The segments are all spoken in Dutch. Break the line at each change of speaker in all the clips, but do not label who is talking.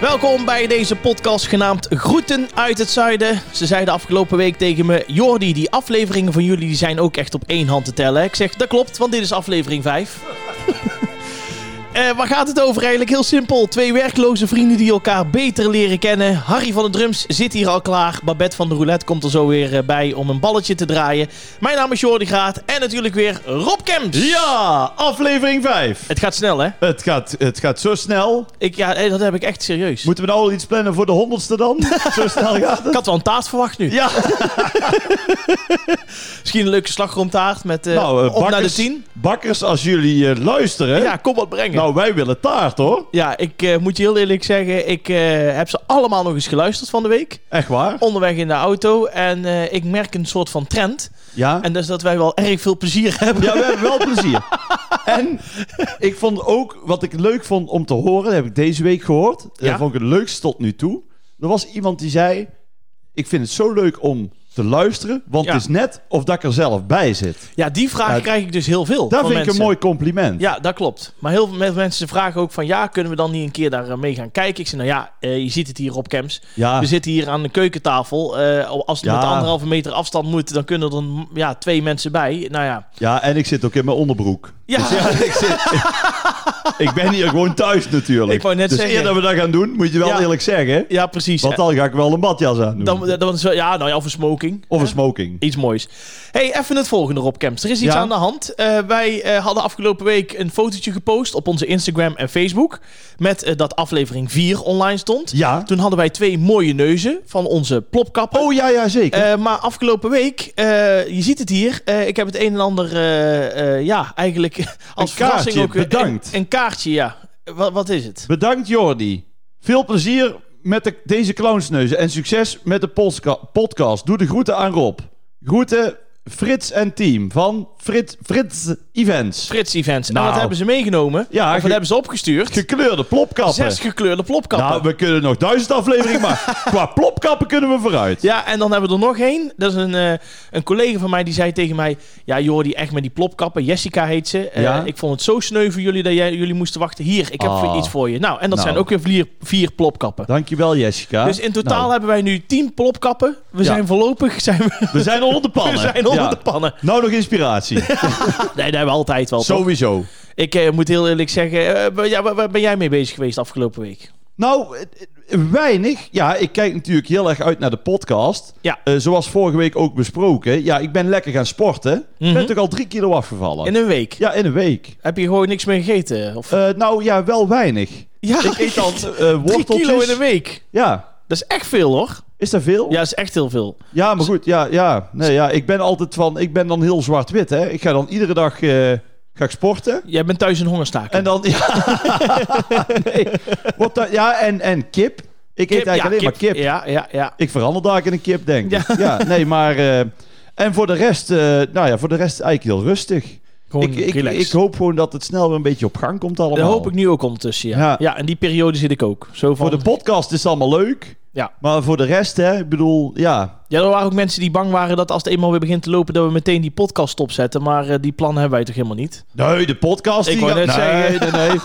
Welkom bij deze podcast genaamd Groeten uit het Zuiden. Ze zeiden afgelopen week tegen me: Jordi, die afleveringen van jullie die zijn ook echt op één hand te tellen. Ik zeg: Dat klopt, want dit is aflevering 5. Eh, waar gaat het over eigenlijk? Heel simpel. Twee werkloze vrienden die elkaar beter leren kennen. Harry van de Drums zit hier al klaar. Babette van de Roulette komt er zo weer eh, bij om een balletje te draaien. Mijn naam is Jordi Graat en natuurlijk weer Rob Kemps.
Ja, aflevering 5.
Het gaat snel, hè?
Het gaat, het gaat zo snel.
Ik, ja, eh, dat heb ik echt serieus.
Moeten we nou al iets plannen voor de honderdste dan? zo snel gaat
Ik
het.
had wel een taart verwacht nu.
Ja,
Misschien een leuke slagroomtaart met eh
nou, eh,
op naar de
bakkers,
10.
bakkers, als jullie eh, luisteren.
Ja, kom wat brengen.
Nou, wij willen taart hoor.
Ja, ik eh, moet je heel eerlijk zeggen, ik eh, heb ze allemaal nog eens geluisterd van de week.
Echt waar?
Onderweg in de auto en eh, ik merk een soort van trend.
Ja.
En dat is dat wij wel erg veel plezier hebben.
Ja, we hebben wel plezier. En ik vond ook, wat ik leuk vond om te horen, dat heb ik deze week gehoord.
Ja?
Dat vond ik het leukst tot nu toe. Er was iemand die zei, ik vind het zo leuk om te luisteren, want
Ja.
het is net of dat ik er zelf bij zit.
Ja, die vraag
Ja,
krijg ik dus heel veel.
Dat
van
vind ik
mensen.
een mooi compliment.
Ja, dat klopt. Maar heel veel me- mensen vragen ook van ja, kunnen we dan niet een keer daar eh, mee gaan kijken? Ik zeg nou ja, eh, je ziet het hier op camps.
Ja.
We zitten hier aan de keukentafel. Eh, als het
Ah. Ja.
met anderhalve meter afstand moet, dan kunnen er mm, ja, twee mensen bij. Nou ja.
Ja, en ik zit ook in mijn onderbroek.
Ja.
Dus ik, zit, ik ben hier gewoon thuis natuurlijk.
Ik wou net
dus
zeggen.
eerder we dat gaan doen, moet je wel
Ja.
eerlijk zeggen.
Ja, precies.
Want dan ga ik wel een badjas aan doen.
Dan, dan, dan is wel- ja, nou ja, of een smoking.
of een smoking.
Iets moois. hey, even het volgende Rob Kemps. Er is iets
Ja?
aan de hand. Eh, wij eh, hadden afgelopen week een fotootje gepost op onze Instagram en Facebook. Met eh, dat aflevering 4 online stond.
Ja.
Toen hadden wij twee mooie neuzen van onze plopkappen.
Oh ja, ja, zeker.
Eh, maar afgelopen week, eh, je ziet het hier, eh, ik heb het een en ander, eh, eh, ja, eigenlijk als verrassing
kaartje,
ook weer-
bedankt.
Een, een kaartje, ja. Wat, wat is het?
Bedankt Jordi. Veel plezier met de- deze clownsneuzen en succes met de postka- podcast. Doe de groeten aan Rob. Groeten Frits en team van Frits, Frits Events.
Frits Events. Nou,
Nou.
en wat hebben ze meegenomen?
Ja,
of
ge-
wat hebben ze opgestuurd?
Gekleurde plopkappen.
Zes gekleurde plopkappen.
nou, we kunnen nog duizend afleveringen maken. Qua plopkappen kunnen we vooruit.
Ja, en dan hebben we er nog één. Dat is een, eh, een collega van mij die zei tegen mij... Ja, Jordi, echt met die plopkappen. Jessica heet ze. Eh,
Ja.
Ik vond het zo sneu voor jullie dat jij, jullie moesten wachten. Hier, ik heb
Ah.
iets voor je. Nou, en dat
Nou.
zijn ook weer vier, vier plopkappen.
Dankjewel Jessica.
Dus in totaal
Nou,
hebben wij nu tien plopkappen. We
Ja.
zijn voorlopig zijn we,
we zijn onder de
we
pannen.
zijn onder
Ja. Ah.
de pannen.
Nou nog inspiratie.
Nee, dat hebben we altijd wel. toch?
Sowieso.
Ik eh, moet heel eerlijk zeggen... eh, wa- ja, waar, waar ben jij mee bezig geweest afgelopen week?
Nou, eh, eh, weinig. Ja, ik kijk natuurlijk heel erg uit naar de podcast.
Ja.
Eh, zoals vorige week ook besproken. Ja, ik ben lekker gaan sporten. Ik ben toch al drie kilo afgevallen.
Mhm. In een week.
Ja, in een week.
Heb je gewoon niks meer gegeten? Of...
Eh, nou ja, wel weinig.
ja,
Ik eet dan eh,
drie
worteltjes.
kilo in een week.
Ja.
Dat is echt veel, hoor.
Is dat veel?
Ja, dat is echt heel veel.
Ja, maar goed. Ja, ja. Nee, ja. Ik ben altijd van... Ik ben dan heel zwart-wit, hè. Ik ga dan iedere dag eh, ga ik sporten.
Jij bent thuis in hongerstaking.
En dan... Ja, nee. Wat dan- ja en, en kip. Ik eet eigenlijk
ja,
alleen maar kip.
Ja, ja, ja.
Ik verander daar in een kip, denk
Ja.
ik. Ja, nee, maar... eh, en voor de rest, eh, nou ja, voor de rest eigenlijk heel rustig.
Gewoon
ik, ik,
relax.
ik hoop gewoon dat het snel weer een beetje op gang komt allemaal.
Daar hoop ik nu ook ondertussen, ja. ja.
Ja.
en die periode zit ik ook. Zo van,
Voor de podcast is het allemaal leuk.
Ja.
Maar voor de rest, hè, ik bedoel, ja.
ja, er waren ook mensen die bang waren dat als het eenmaal weer begint te lopen... dat we meteen die podcast stopzetten. Maar eh, die plannen hebben wij toch helemaal niet?
Nee, de podcast
Ik
die
wou
gaat-
net
nee, nee, nee.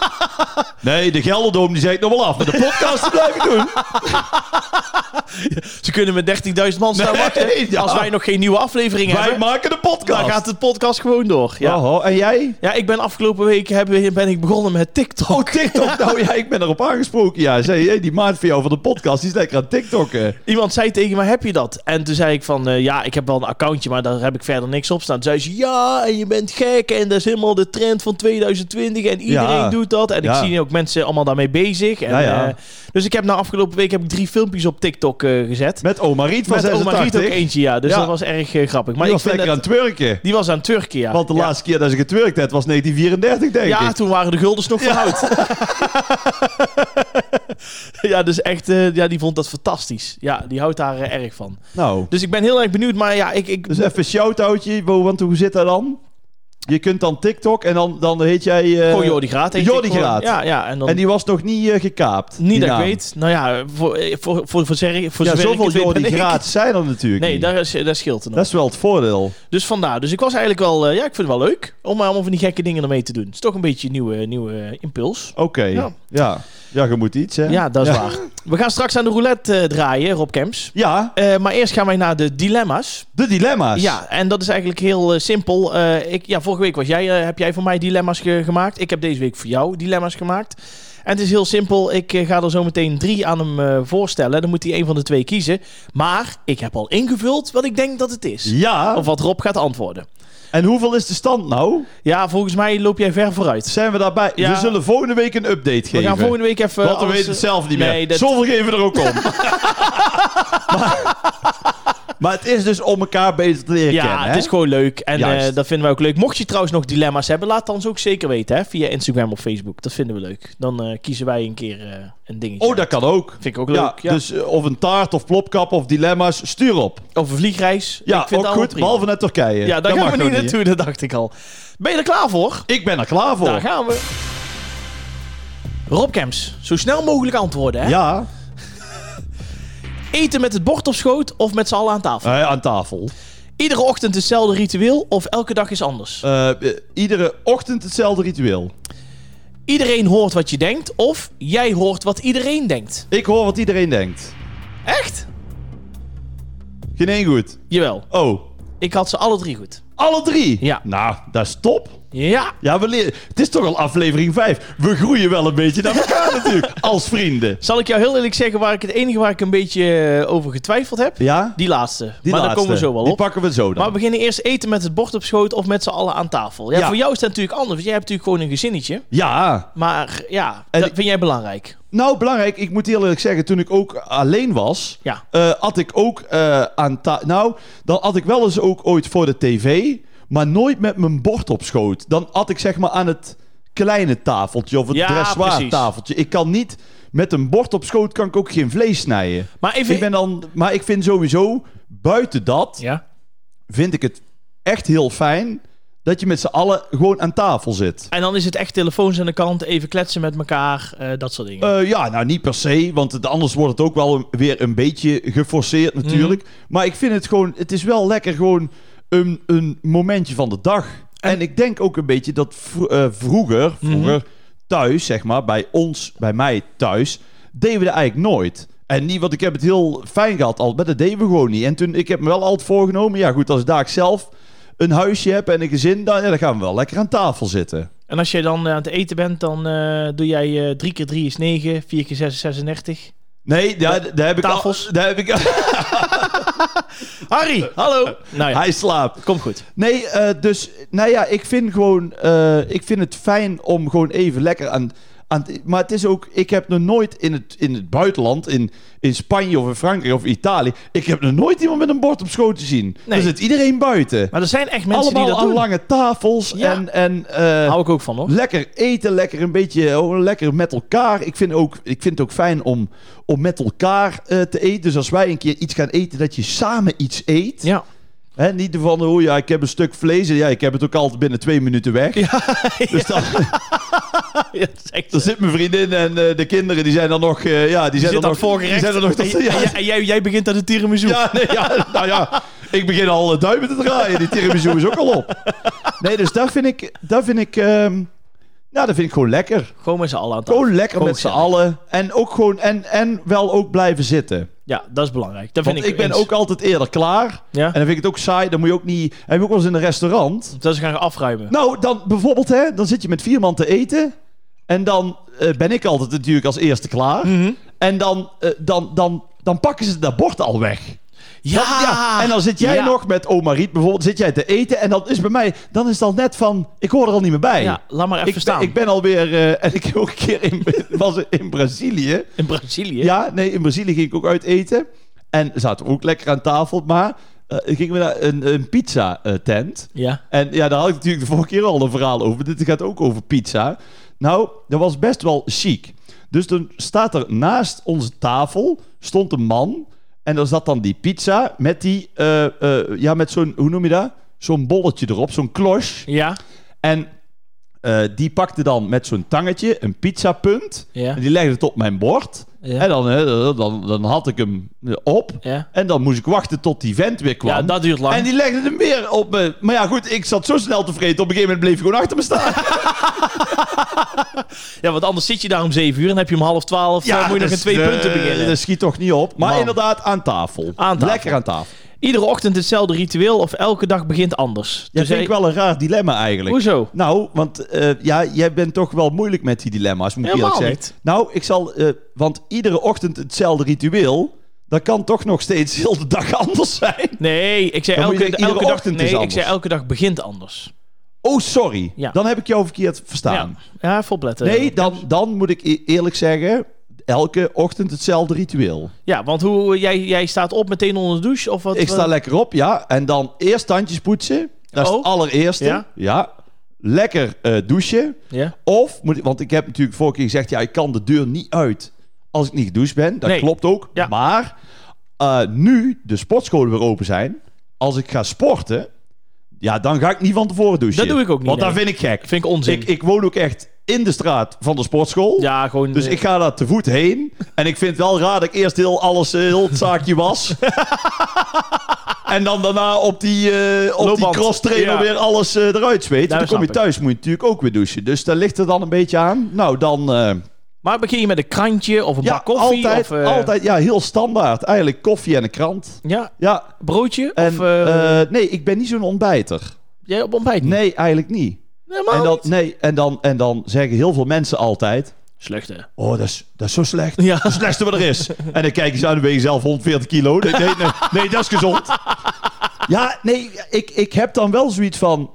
nee, de Gelderdoom die zegt nog wel af. Maar de podcast die blijf ik doen.
Ze kunnen met 30.000 man staan wachten.
Nee, ja.
Als wij nog geen nieuwe aflevering
Wij
hebben,
maken de podcast.
dan gaat de podcast gewoon door. Ja,
Oho, en jij?
ja ik ben afgelopen week heb, ben ik begonnen met TikTok.
Oh, TikTok. nou ja, ik ben erop aangesproken. Ja, zei, hey, die maat van jou van de podcast, die is lekker aan TikTokken.
Iemand zei tegen mij, heb je dat? En toen zei ik van, eh, ja, ik heb wel een accountje, maar daar heb ik verder niks op staan. Toen zei ze, ja, en je bent gek en dat is helemaal de trend van 2020 en iedereen
Ja.
doet dat. En
Ja.
ik zie ook mensen allemaal daarmee bezig. En,
Ja, ja.
eh, dus ik heb na afgelopen week heb ik drie filmpjes op TikTok eh, gezet.
Met oma Riet van
Met oma Riet
86.
ook eentje, ja. Dus
Ja.
dat was erg eh, grappig. Maar
die
ik
was
vind
lekker
dat-
aan het twerken.
die was aan Turkije, ja.
Want de
Ja.
laatste keer dat ze getwerkt had, was 1934, denk
Ja,
ik.
toen waren de guldens nog van hout. ja, dus echt, eh, ja, die vond dat fantastisch. Ja, die houdt daar eh, erg van.
Nou,
Dus ik ben heel erg benieuwd, maar ja, ik, ik
dus even een shout-outje. Bo, Want hoe zit dat dan? Je kunt dan TikTok en dan, dan heet jij... eh,
Gewoon Jordi Graat. heet
Jordi
ik gewoon.
Graat.
Ja, ja. En dan,
En die was nog niet eh, gekaapt. die
niet dat ik
naam.
weet. Nou ja, voor, eh, voor, voor, voor, zer- voor
Ja,
zover ik
zoveel
het weet
Jordi
ben ik-
Graat zijn er natuurlijk
Nee,
niet.
daar, is, daar scheelt er nog.
Dat is wel het voordeel.
Dus vandaar. Dus ik was eigenlijk wel... eh, ja, ik vind het wel leuk om allemaal van die gekke dingen ermee te doen. Het is toch een beetje een nieuwe, nieuwe eh, impuls.
Oké.
Ja.
Ja. ja. je moet iets, hè?
Ja, dat is waar. We gaan straks aan de roulette eh, draaien, Rob Kemps.
Ja,
Eh, maar eerst gaan wij naar de dilemma's.
de dilemma's.
Ja, en dat is eigenlijk heel eh, simpel. Eh, ik, ja, vorige week was jij, eh, heb jij voor mij dilemma's ge- gemaakt. Ik heb deze week voor jou dilemma's gemaakt. En het is heel simpel. Ik eh, ga er zo meteen drie aan hem eh, voorstellen. Dan moet hij een van de twee kiezen. Maar ik heb al ingevuld wat ik denk dat het is.
Ja,
Of wat Rob gaat antwoorden.
en hoeveel is de stand nou?
Ja, volgens mij loop jij ver vooruit.
Zijn we daarbij?
Ja.
We zullen volgende week een update
We
geven.
gaan volgende week even...
Want we
alles, eh,
weten het zelf niet
nee,
meer.
dat-
Zoveel geven we er ook om. maar, maar het is dus om elkaar beter te leren
Ja,
kennen.
het
hè?
is gewoon leuk. En
Juist.
eh, dat vinden wij ook leuk. Mocht je trouwens nog dilemma's hebben, laat het ons ook zeker weten. Hè? Via Instagram of Facebook. Dat vinden we leuk. Dan eh, kiezen wij een keer eh, een dingetje.
Oh, dat kan ook.
vind ik ook leuk. Ja,
Dus eh, of een taart of plopkap of dilemma's, stuur op.
Of een vliegreis.
Ja,
ik vind
ook
het
goed, behalve naar Turkije.
Ja, daar
Dat
gaan
mag
we
ook Oh.
niet naartoe. Dat dacht ik al. Ben je er klaar voor?
hè? Ik ben er klaar voor.
Daar gaan we. Rob Kemps, zo snel mogelijk antwoorden. Hè?
Ja,
Eten met het bord op schoot of met z'n allen aan tafel?
eh, aan tafel.
Iedere ochtend hetzelfde ritueel of elke dag is anders?
Eh, eh, iedere ochtend hetzelfde ritueel.
Iedereen hoort wat je denkt of jij hoort wat iedereen denkt.
Ik hoor wat iedereen denkt.
Echt?
Geen één goed.
Jawel.
Oh,
Ik had ze alle drie goed.
alle drie?
Ja.
Nou, dat is top.
Ja.
Ja, we leren. Het is toch al aflevering 5. We groeien wel een beetje naar elkaar natuurlijk. Als vrienden.
Zal ik jou heel eerlijk zeggen waar ik het enige waar ik een beetje eh, over getwijfeld heb?
Ja?
Die laatste.
Die
maar daar
laatste.
komen we zo wel
Die
op.
pakken we zo dan.
Maar we beginnen eerst eten met het bord op schoot of met z'n allen aan tafel. Ja,
Ja.
Voor jou is dat natuurlijk anders, want jij hebt natuurlijk gewoon een gezinnetje.
Ja.
Maar ja,
En
dat
ik-
vind jij belangrijk.
Nou, belangrijk. Ik moet heel eerlijk zeggen. Toen ik ook alleen was.
Ja.
eh, had ik ook eh, aan ta- Nou, dan had ik wel eens ook ooit voor de tv. Maar nooit met mijn bord op schoot. Dan had ik zeg maar aan het kleine tafeltje. Of het
Ja,
dressoir
precies.
tafeltje. Ik kan niet... Met een bord op schoot kan ik ook geen vlees snijden.
Maar even...
Ik ben dan, maar ik vind sowieso, buiten dat,
Ja.
vind ik het echt heel fijn dat je met z'n allen gewoon aan tafel zit.
En dan is het echt telefoons aan de kant, even kletsen met elkaar, eh, dat soort dingen.
Eh, ja, nou niet per se, want het- anders wordt het ook wel een- weer een beetje geforceerd natuurlijk. Maar ik vind het gewoon, het is wel lekker gewoon een, een momentje van de dag. En, ik denk ook een beetje dat vro- eh, vroeger, vroeger thuis, zeg maar, bij ons, bij mij thuis, deden we dat eigenlijk nooit. En niet, want ik heb het heel fijn gehad al, maar dat deden we gewoon niet. En toen, ik heb me wel altijd voorgenomen, ja goed, als daar ik zelf een huisje heb en een gezin, dan, ja, dan gaan we wel lekker aan tafel zitten.
En als jij dan eh, aan het eten bent, dan eh, doe jij eh, drie keer drie is 9, vier keer zes is 36.
Nee, daar, daar heb ik... al-
Tafels?
Daar heb ik...
Harry, hallo! Nou ja,
Hij slaapt.
kom goed.
Nee, eh, dus, nou ja, ik vind gewoon, eh, ik vind het fijn om gewoon even lekker aan, aan, maar het is ook, ik heb nog nooit in het, in het buitenland, in, in Spanje of in Frankrijk of Italië, ik heb nog nooit iemand met een bord op schoot gezien.
Nee.
Er zit iedereen buiten.
Maar er zijn echt mensen
Allemaal
die dat
aan
doen.
lange tafels
Ja.
en, en eh,
Hou ik ook van, hoor.
lekker eten, lekker een beetje, oh, lekker met elkaar. Ik vind, ook, ik vind het ook fijn om, om met elkaar eh, te eten. Dus als wij een keer iets gaan eten, dat je samen iets eet.
Ja.
Hè, niet van, oh ja, ik heb een stuk vlees. en Ja, ik heb het ook altijd binnen twee minuten weg. Dus dan,
ja, dat is echt
dan zit mijn vriendin en eh, de kinderen, die zijn dan nog... eh, ja, die
Je zit
zijn dan
aan
nog
het voorgerecht.
Die zijn dan nog tot,
en,
ja,
en- en jij, jij begint aan de tiramisu.
ja, nee, ja, nou ja, ik begin al eh, duimen te draaien. Die tiramisu is ook al op. Nee, dus daar vind ik... Daar vind ik ehm, nou, dat vind ik gewoon lekker.
Gewoon met z'n allen aan tafel.
Gewoon lekker
Gewoon
met z'n
gezellig.
allen. En ook gewoon... En, en wel ook blijven zitten.
Ja, dat is belangrijk. Dat
Want
vind
ik,
ik
ben
eens.
ook altijd eerder klaar.
Ja?
En dan vind ik het ook saai. Dan moet je ook niet... En heb ik ook wel eens in een restaurant...
Dat ze gaan afruimen.
Nou, dan bijvoorbeeld, hè, dan zit je met vier man te eten. En dan eh, ben ik altijd natuurlijk als eerste klaar.
Mhm.
En dan, eh, dan, dan, dan pakken ze dat bord al weg.
ja.
Dat- ja, En dan zit jij
Ah, Ja.
nog met oma Riet bijvoorbeeld, zit jij te eten. En dan is bij mij, dan is het al net van, ik hoor er al niet meer bij.
Ja, laat maar even
ik, ben-
staan.
ik ben alweer, eh, en ik heb ook een keer in, was in Brazilië.
In Brazilië.
Ja, nee, in Brazilië ging ik ook uit eten. En zaten we ook lekker aan tafel. Maar eh, gingen we naar een, een pizza eh, tent.
Ja.
En ja, daar had ik natuurlijk de vorige keer al een verhaal over. Dit gaat ook over pizza. Nou, dat was best wel chic. Dus dan staat er naast onze tafel stond een man. En daar zat dan die pizza met die, eh, eh, ja, met zo'n, hoe noem je dat? zo'n bolletje erop, zo'n kloche.
Ja,
En eh, die pakte dan met zo'n tangetje een pizzapunt.
ja,
En die legde het op mijn bord. En
ja.
dan, eh, dan, dan had ik hem op.
Ja,
En dan moest ik wachten tot die vent weer kwam.
ja dat duurt lang.
En die legde hem weer op me. Maar ja, goed, ik zat zo snel te vreten. Op een gegeven moment bleef hij gewoon achter me staan.
Ja, want anders zit je daar om 7 uur en heb je om half 12. eh, moet je nog in
dus,
twee
eh,
punten beginnen.
Dat schiet toch niet op. Maar
Man.
inderdaad, aan tafel.
Aan tafel.
Lekker aan tafel.
Iedere ochtend hetzelfde ritueel of elke dag begint anders.
Dat
Dus
vind
hij-
ik wel een raar dilemma eigenlijk.
Hoezo?
Nou, want eh, ja, jij bent toch wel moeilijk met die dilemma's, moet ik eerlijk
Helemaal
zeggen.
niet.
Nou, ik zal... eh, want iedere ochtend hetzelfde ritueel... Dat kan toch nog steeds heel de dag anders zijn.
Nee, ik zei
Dan moet
elke,
je
elke
zeggen, iedere
dag.
ochtend
Nee,
is
ik
anders.
zei elke dag begint anders.
Oh, sorry.
Ja.
Dan heb ik jou verkeerd verstaan.
Ja, ja even opletten.
Nee, dan, dan moet ik e- eerlijk zeggen... Elke ochtend hetzelfde ritueel.
Ja, want hoe, jij, jij staat op meteen onder de douche of wat?
Ik sta
wat-
lekker op, ja. En dan eerst tandjes poetsen. Dat is
Oh.
het allereerste.
Ja.
Ja. Lekker eh, douchen.
Ja.
Of, moet ik, want ik heb natuurlijk vorige keer gezegd... Ja, ik kan de deur niet uit als ik niet gedoucht ben. Dat
Nee.
klopt ook.
Ja.
Maar eh, nu de sportscholen weer open zijn... Als ik ga sporten... Ja, dan ga ik niet van tevoren douchen.
Dat doe ik ook niet,
Want dat
nee.
vind ik gek.
Vind ik onzin.
Ik, ik woon ook echt in de straat van de sportschool.
ja, gewoon.
Dus
eh,
ik ga daar te voet heen. En ik vind het wel raar dat ik eerst heel alles, eh, heel het zaakje was. en dan daarna op die, eh, op die
Loopband.
cross trainer
Ja.
weer alles eh, eruit zweet.
Nou,
dan kom je
snap ik.
thuis, moet je natuurlijk ook weer douchen. Dus daar ligt er dan een beetje aan. Nou, dan... eh,
Maar begin je met een krantje of een
ja,
bak koffie?
altijd,
of, eh,
altijd. Ja, heel standaard. Eigenlijk koffie en een krant.
Ja,
Ja,
broodje?
en...
of eh,
eh, nee, ik ben niet zo'n ontbijter.
jij op ontbijt? niet?
Nee, eigenlijk niet.
Helemaal
En dan,
niet.
nee, en dan, en dan zeggen heel veel mensen altijd...
Slecht, hè?
Oh, dat is, dat is zo slecht.
Ja.
Dat is het slechtste wat er is. En dan kijk je ze aan, dan weeg je zelf 140 kilo. Nee, nee, nee, nee, dat is gezond. Ja, nee, ik, ik heb dan wel zoiets van...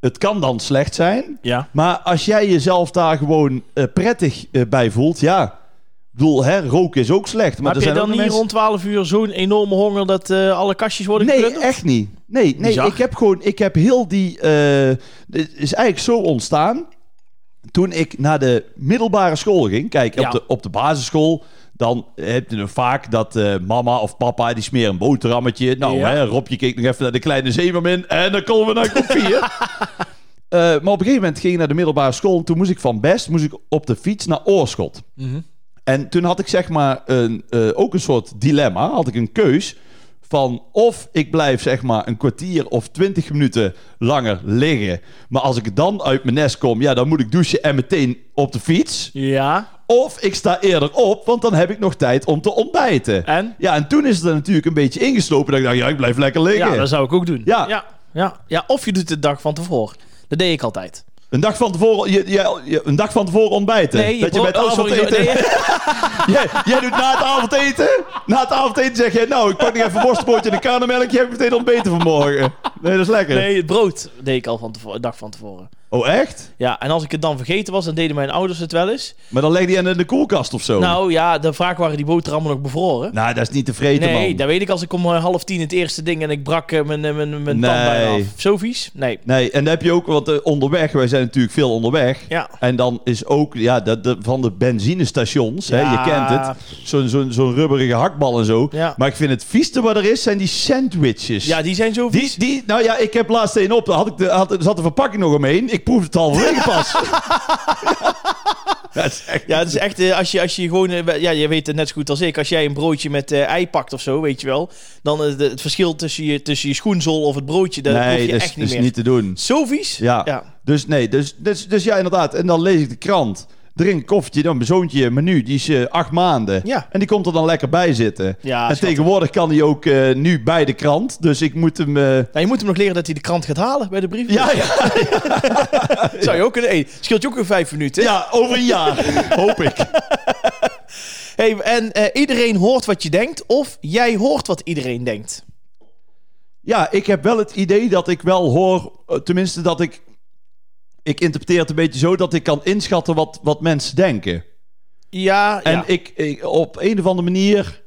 Het kan dan slecht zijn.
Ja.
Maar als jij jezelf daar gewoon eh, prettig eh, bij voelt, ja... Ik bedoel, hè, roken is ook slecht. Maar,
Maar heb
er
je
zijn
dan
ook
niet
mensen...
rond 12 uur zo'n enorme honger dat eh, alle kastjes worden
Nee,
gekund?
echt niet. Nee, nee
Bizar.
ik heb gewoon, ik heb heel die. eh, dit is eigenlijk zo ontstaan. Toen ik naar de middelbare school ging, kijk,
Ja.
op, de, op de basisschool, dan heb je nog vaak dat eh, mama of papa die smeren een boterhammetje. Nou,
Ja.
hè, Robje keek nog even naar de kleine zeemermin en dan komen we naar kopieën. Eh, maar op een gegeven moment ging ik naar de middelbare school en toen moest ik van best moest ik op de fiets naar Oorschot.
Mhm.
En toen had ik zeg maar een, eh, ook een soort dilemma. Had ik een keus van of ik blijf zeg maar een kwartier of twintig minuten langer liggen. Maar als ik dan uit mijn nest kom, ja, dan moet ik douchen en meteen op de fiets.
Ja,
Of ik sta eerder op, want dan heb ik nog tijd om te ontbijten.
en?
Ja, en toen is het er natuurlijk een beetje ingeslopen. Dat ik dacht, ja, ik blijf lekker liggen.
Ja, dat zou ik ook doen.
Ja.
Ja, ja. ja of je doet het de dag van tevoren. Dat deed ik altijd.
Een, dag van tevoren, je, je- je- een dag van tevoren ontbijten. dat je
bro-
met
oh, sorry,
avondeten...
nee.
Jij, jij doet na het avondeten. Na het avondeten zeg jij, nou, ik pak nog even worstbroodje en een karnemelkje. Heb ik meteen ontbeten vanmorgen. Nee, dat is lekker.
Nee, het brood deed ik al van tevoren, de dag van tevoren.
Oh, echt?
Ja, en als ik het dan vergeten was, dan deden mijn ouders het wel eens.
Maar dan leg die in de koelkast of zo.
Nou ja, de vraag waren die boterhammen nog bevroren.
Nou, dat is niet te vreten,
nee,
man.
dat weet ik als ik om eh, half tien het eerste ding en ik brak eh, mijn, eh, mijn, mijn tand
Nee.
bijna af. Zo vies? Nee.
Nee, en dan heb je ook, want eh, onderweg, wij zijn natuurlijk veel onderweg.
Ja.
En dan is ook, ja, dat de, van de benzinestations, hè,
Ja.
je kent het. Zo'n zo'n zo'n rubberige hakbal en zo.
Ja.
Maar ik vind het vieste wat er is, zijn die sandwiches.
Ja, die zijn zo vies.
Die, die, nou ja, ik heb laatst één op. Daar had ik de, had, er zat de verpakking nog omheen. Ik proefde het halverwege pas. dat is echt...
Ja, het is echt, eh, als je, als je gewoon, eh, ja, je weet het net zo goed als ik, als jij een broodje met eh, ei pakt of zo, weet je wel, dan eh, de- het verschil tussen je, tussen je schoenzol of het broodje, dat proef
nee,
je
dat is,
echt
dat
niet
is
meer.
niet te doen.
Zo vies?
Ja.
ja.
Dus nee, dus, dus, dus ja, inderdaad. En dan lees ik de krant. Drink een koffietje, dan mijn zoontje menu, die is eh, acht maanden.
Ja.
En die komt er dan lekker bij zitten.
Ja,
en
schattig.
tegenwoordig kan hij ook eh, nu bij de krant. Dus ik moet hem... eh,
Nou, je moet hem nog leren dat hij de krant gaat halen bij de brief.
ja, ja,
Zou je ook kunnen... Hey, scheelt je ook weer vijf minuten.
ja, over een jaar. Hoop ik.
Hey, en eh, iedereen hoort wat je denkt of jij hoort wat iedereen denkt.
Ja, ik heb wel het idee dat ik wel hoor, eh, tenminste dat ik. Ik interpreteer het een beetje zo dat ik kan inschatten wat, wat mensen denken.
Ja,
En
ja.
ik, ik- op een of andere manier.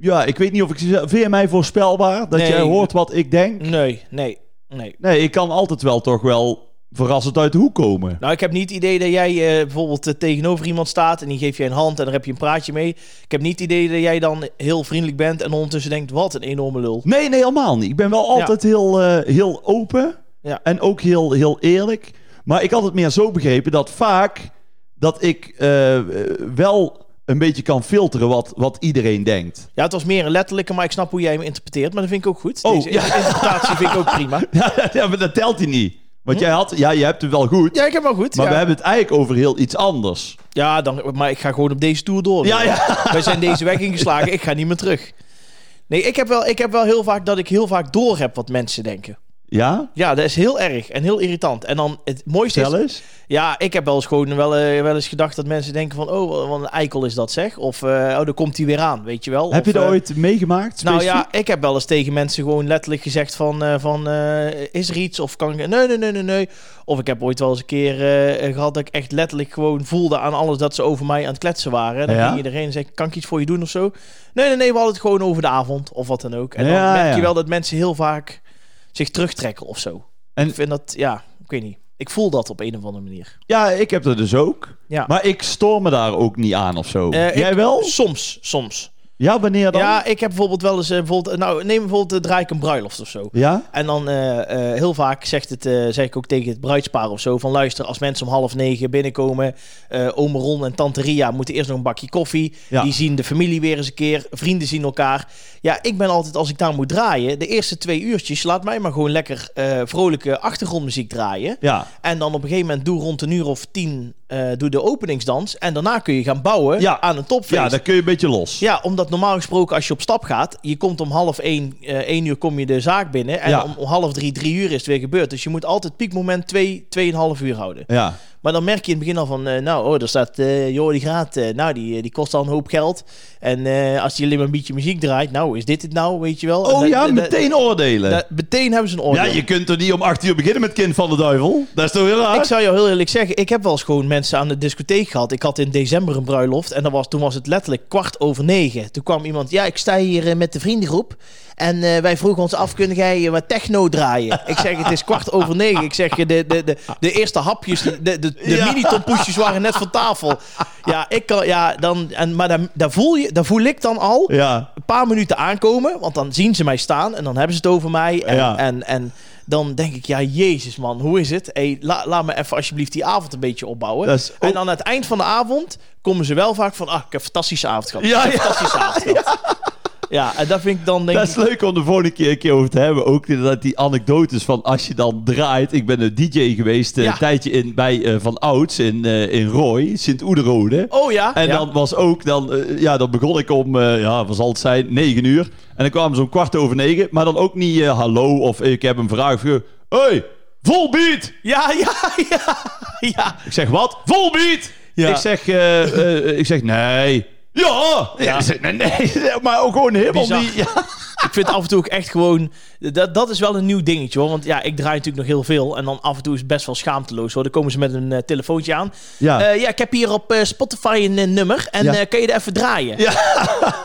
Ja, ik weet niet of ik. Vind je mij voorspelbaar dat
Nee. Mm.
jij hoort wat ik denk?
Nee, nee, nee.
Nee, ik kan altijd wel toch wel verrassend uit de hoek komen.
Nou, ik heb niet het idee dat jij eh, bijvoorbeeld eh, tegenover iemand staat en die geeft je een hand en daar heb je een praatje mee. Ik heb niet het idee dat jij dan heel vriendelijk bent en ondertussen denkt, wat een enorme lul.
Nee, nee, helemaal niet. Ik ben wel altijd heel, eh, heel open
Ja.
en ook heel, heel eerlijk. Maar ik had het meer zo begrepen dat vaak dat ik eh, wel een beetje kan filteren wat, wat iedereen denkt.
Ja, het was meer een letterlijke, maar ik snap hoe jij hem interpreteert, maar dat vind ik ook goed.
Oh,
Deze
ja.
interpretatie vind ik ook prima.
ja, maar dat telt hij niet. Want jij had, ja, je hebt hem wel goed.
Hm? Ja, ik heb wel goed.
Maar
ja.
we hebben het eigenlijk over heel iets anders.
Ja, dan, maar ik ga gewoon op deze tour door.
Ja, ja.
Wij zijn deze weg ingeslagen, ik ga niet meer terug. Nee, ik heb, wel, ik heb wel heel vaak dat ik heel vaak door heb wat mensen denken.
Ja?
Ja, dat is heel erg en heel irritant. En dan het mooiste is...
Stel eens.
Ja, ik heb wel eens gewoon wel, eh, wel eens gedacht dat mensen denken van... Oh, wat een eikel is dat zeg. Of, eh, oh, daar komt hij weer aan, weet je wel.
Heb je
Of,
dat
eh,
ooit meegemaakt?
Nou
specifiek?
ja, ik heb wel eens tegen mensen gewoon letterlijk gezegd van... eh, van eh, is er iets? Of kan ik... Nee, nee, nee, nee, nee. Of ik heb ooit wel eens een keer eh, gehad dat ik echt letterlijk gewoon voelde aan alles... dat ze over mij aan het kletsen waren. En dan
Ja?
ging iedereen en zei ik, kan ik iets voor je doen of zo? Nee, nee, nee, we hadden het gewoon over de avond of wat dan ook. En
Ja,
dan merk
ja.
je wel dat mensen heel vaak zich terugtrekken of zo.
En-
Ik vind dat, ja, ik weet niet. Ik voel dat op een of andere manier.
Ja, ik heb dat dus ook.
Ja.
Maar ik stoor me daar ook niet aan of zo.
Eh, ik-
Jij wel?
Soms, soms.
Ja, wanneer dan?
Ja, ik heb bijvoorbeeld wel eens... eh, bijvoorbeeld, nou, neem bijvoorbeeld, eh, draai ik een bruiloft of zo.
Ja?
En dan eh, eh, heel vaak zegt het, eh, zeg ik ook tegen het bruidspaar of zo: van luister, als mensen om half negen binnenkomen, eh oom Ron en tante Ria moeten eerst nog een bakje koffie.
Ja.
Die zien de familie weer eens een keer, vrienden zien elkaar. Ja, ik ben altijd, als ik daar moet draaien, de eerste twee uurtjes, laat mij maar gewoon lekker eh, vrolijke achtergrondmuziek draaien.
Ja.
En dan op een gegeven moment doe rond een uur of tien, eh, doe de openingsdans. En daarna kun je gaan bouwen
Ja.
aan een topfeest.
ja, dan kun je een beetje los.
Ja, omdat normaal gesproken als je op stap gaat, je komt om half één, eh, één uur kom je de zaak binnen. En
Ja.
om, om half drie, drie uur is het weer gebeurd. Dus je moet altijd piekmoment twee, tweeënhalf uur houden.
Ja.
Maar dan merk je in het begin al van, eh, nou, oh, daar staat, eh joh, die gaat, eh, nou, die, eh, die kost al een hoop geld. En eh, als die alleen maar een beetje muziek draait, nou, is dit het nou, weet je wel. En
Oh
dat-
ja,
dat-
meteen oordelen.
dat- meteen hebben ze een oordeel.
ja, je kunt er niet om acht uur beginnen met Kind van de Duivel. Dat is toch heel raar?
Ik zou jou heel eerlijk zeggen, ik heb wel eens gewoon mensen aan de discotheek gehad. Ik had in december een bruiloft en dan was, toen was het letterlijk kwart over negen. Toen kwam iemand, ja, ik sta hier eh, met de vriendengroep en eh, wij vroegen ons af, kunnen jij eh, wat techno draaien? Ik zeg, het is kwart over negen. Ik zeg, de, de, de, de eerste hapjes, de, de, de
Ja.
mini-tompoesjes waren net van tafel. Ja, ik kan, ja, dan, en, maar dan, dan, voel je, dan voel ik dan al
Ja.
een paar minuten aankomen, want dan zien ze mij staan en dan hebben ze het over mij. En,
Ja.
en, en dan denk ik, ja, jezus man, hoe is het? Hey, la- laat me even alsjeblieft die avond een beetje opbouwen.
Dat is-
En aan het eind van de avond komen ze wel vaak van, ah, ik heb een fantastische avond gehad.
Ja, ja.
Fantastische avond gehad. Ja, en dat vind ik dan denk
Dat is
ik...
leuk om de volgende keer een keer over te hebben. Ook inderdaad die anekdotes van als je dan draait. Ik ben een DJ geweest eh,
Ja.
een tijdje in, bij eh, Van Ouds in, eh, in Rooi, Sint-Oederode.
Oh ja,
En
ja.
dan was ook, dan, eh, ja, dan begon ik om, eh, ja, wat zal het zijn, negen uur. En dan kwamen ze om kwart over negen. Maar dan ook niet eh, hallo of ik heb een vraag. Of, eh, hey, vol beat!
Ja, ja, ja, ja.
Ik zeg, wat? Vol beat!
Ja.
Ik zeg, eh, eh, ik zeg, nee. Ja!
Ja.
Ik zeg, nee, nee. Maar ook gewoon helemaal
Bizar.
niet. Ja.
Ik vind af en toe ook echt gewoon... Dat, dat is wel een nieuw dingetje hoor. Want ja, ik draai natuurlijk nog heel veel. En dan af en toe is het best wel schaamteloos hoor. Dan komen ze met een eh, telefoontje aan.
Ja.
Eh, ja, ik heb hier op eh, Spotify een eh, nummer. En
Ja.
eh, kan je er even draaien?
Ja.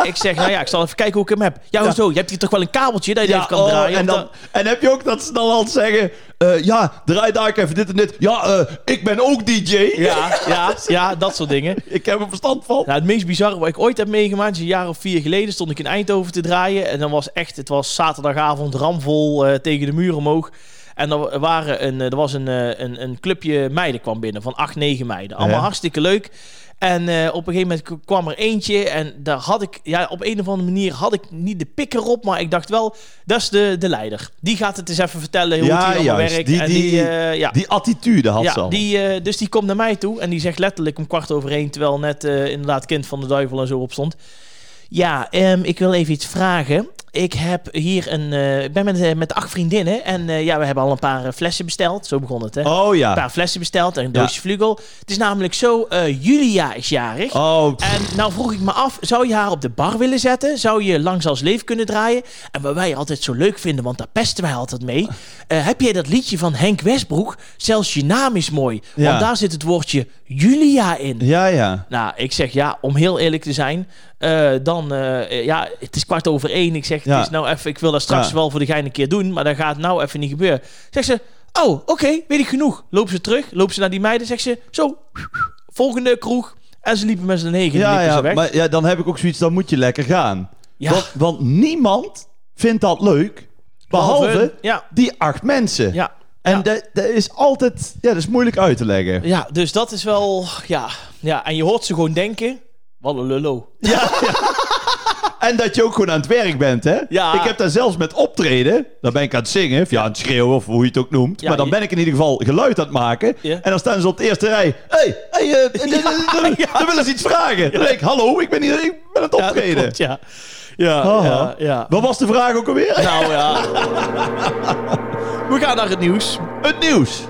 Ik zeg, nou ja, ik zal even kijken hoe ik hem heb. Ja, hoezo? Je hebt hier toch wel een kabeltje dat je even kan
oh,
draaien?
En,
Want
dan, en heb je ook dat ze dan al zeggen... eh, ja, draai daar ook even dit en dit. Ja, eh, ik ben ook DJ.
Ja, ja, ja, dat soort dingen.
Ik heb er verstand van.
Nou, het meest bizarre wat ik ooit heb meegemaakt is een jaar of vier geleden stond ik in Eindhoven te draaien. En dan was echt, het was zaterdagavond ramvol eh, tegen de muur omhoog. En er, waren een, eh, er was een, eh, een, een clubje meiden kwam binnen van 8, 9 meiden. Allemaal
Ja.
hartstikke leuk. En eh, op een gegeven moment k- kwam er eentje en daar had ik, ja, op een of andere manier had ik niet de pikker op, maar ik dacht wel, dat is de, de leider. Die gaat het eens even vertellen hoe het
ja,
hier allemaal werkt.
Die,
en
die,
eh, ja
die attitude had ze
ja,
al.
die, eh, dus die komt naar mij toe en die zegt letterlijk om kwart over één, terwijl net eh, inderdaad kind van de duivel en zo op stond. Ja, ehm, ik wil even iets vragen. Ik heb hier een, eh, ik ben met, eh, met acht vriendinnen en eh, ja, we hebben al een paar eh, flessen besteld. Zo begon het, hè?
Oh
Een
ja.
paar flessen besteld en een doosje vlugel. Het is namelijk zo, eh, Julia is jarig.
Oh, pff.
En nou vroeg ik me af, zou je haar op de bar willen zetten? Zou je langs als leef kunnen draaien? En wat wij altijd zo leuk vinden, want daar pesten wij altijd mee. eh, heb jij dat liedje van Henk Westbroek? Zelfs je naam is mooi. Want
Ja.
daar zit het woordje Julia in.
ja, ja.
Nou, ik zeg ja, om heel eerlijk te zijn. eh, dan, eh, ja, het is kwart over één. Ik zeg,
Ja.
het is nou even, ik wil dat straks
Ja.
wel voor de gein een keer doen. Maar dat gaat nou even niet gebeuren. Zegt ze, Oh, oké, weet ik genoeg. Lopen ze terug, lopen ze naar die meiden, zegt ze, zo, volgende kroeg. En ze liepen met z'n negen en
Ja,
liepen ze
ja,
weg.
maar ja, dan heb ik ook zoiets, dan moet je lekker gaan.
Ja.
Want, want niemand vindt dat leuk, behalve,
Ja,
die acht mensen.
ja.
En
ja.
dat, dat is altijd, ja, dat is moeilijk uit te leggen.
Ja, dus dat is wel, ja. ja. En je hoort ze gewoon denken, wat een lullo.
En dat je ook gewoon aan het werk bent, hè?
Ja.
Ik heb daar zelfs met optreden, dan ben ik aan het zingen, of ja, aan het schreeuwen, of hoe je het ook noemt.
Ja,
maar dan
je-
ben ik in ieder geval geluid aan het maken.
Ja.
En dan staan ze op de eerste rij. Hé, hey, hey, eh, eh, eh, eh, eh, dan willen ze iets vragen. Dan denk ik, hallo, ik ben, hier, ik ben aan het
Ja, dat
optreden.
klopt, ja. Ja,
Haha.
ja, ja.
Wat was de vraag ook alweer?
Nou ja. We gaan naar het nieuws.
Het nieuws.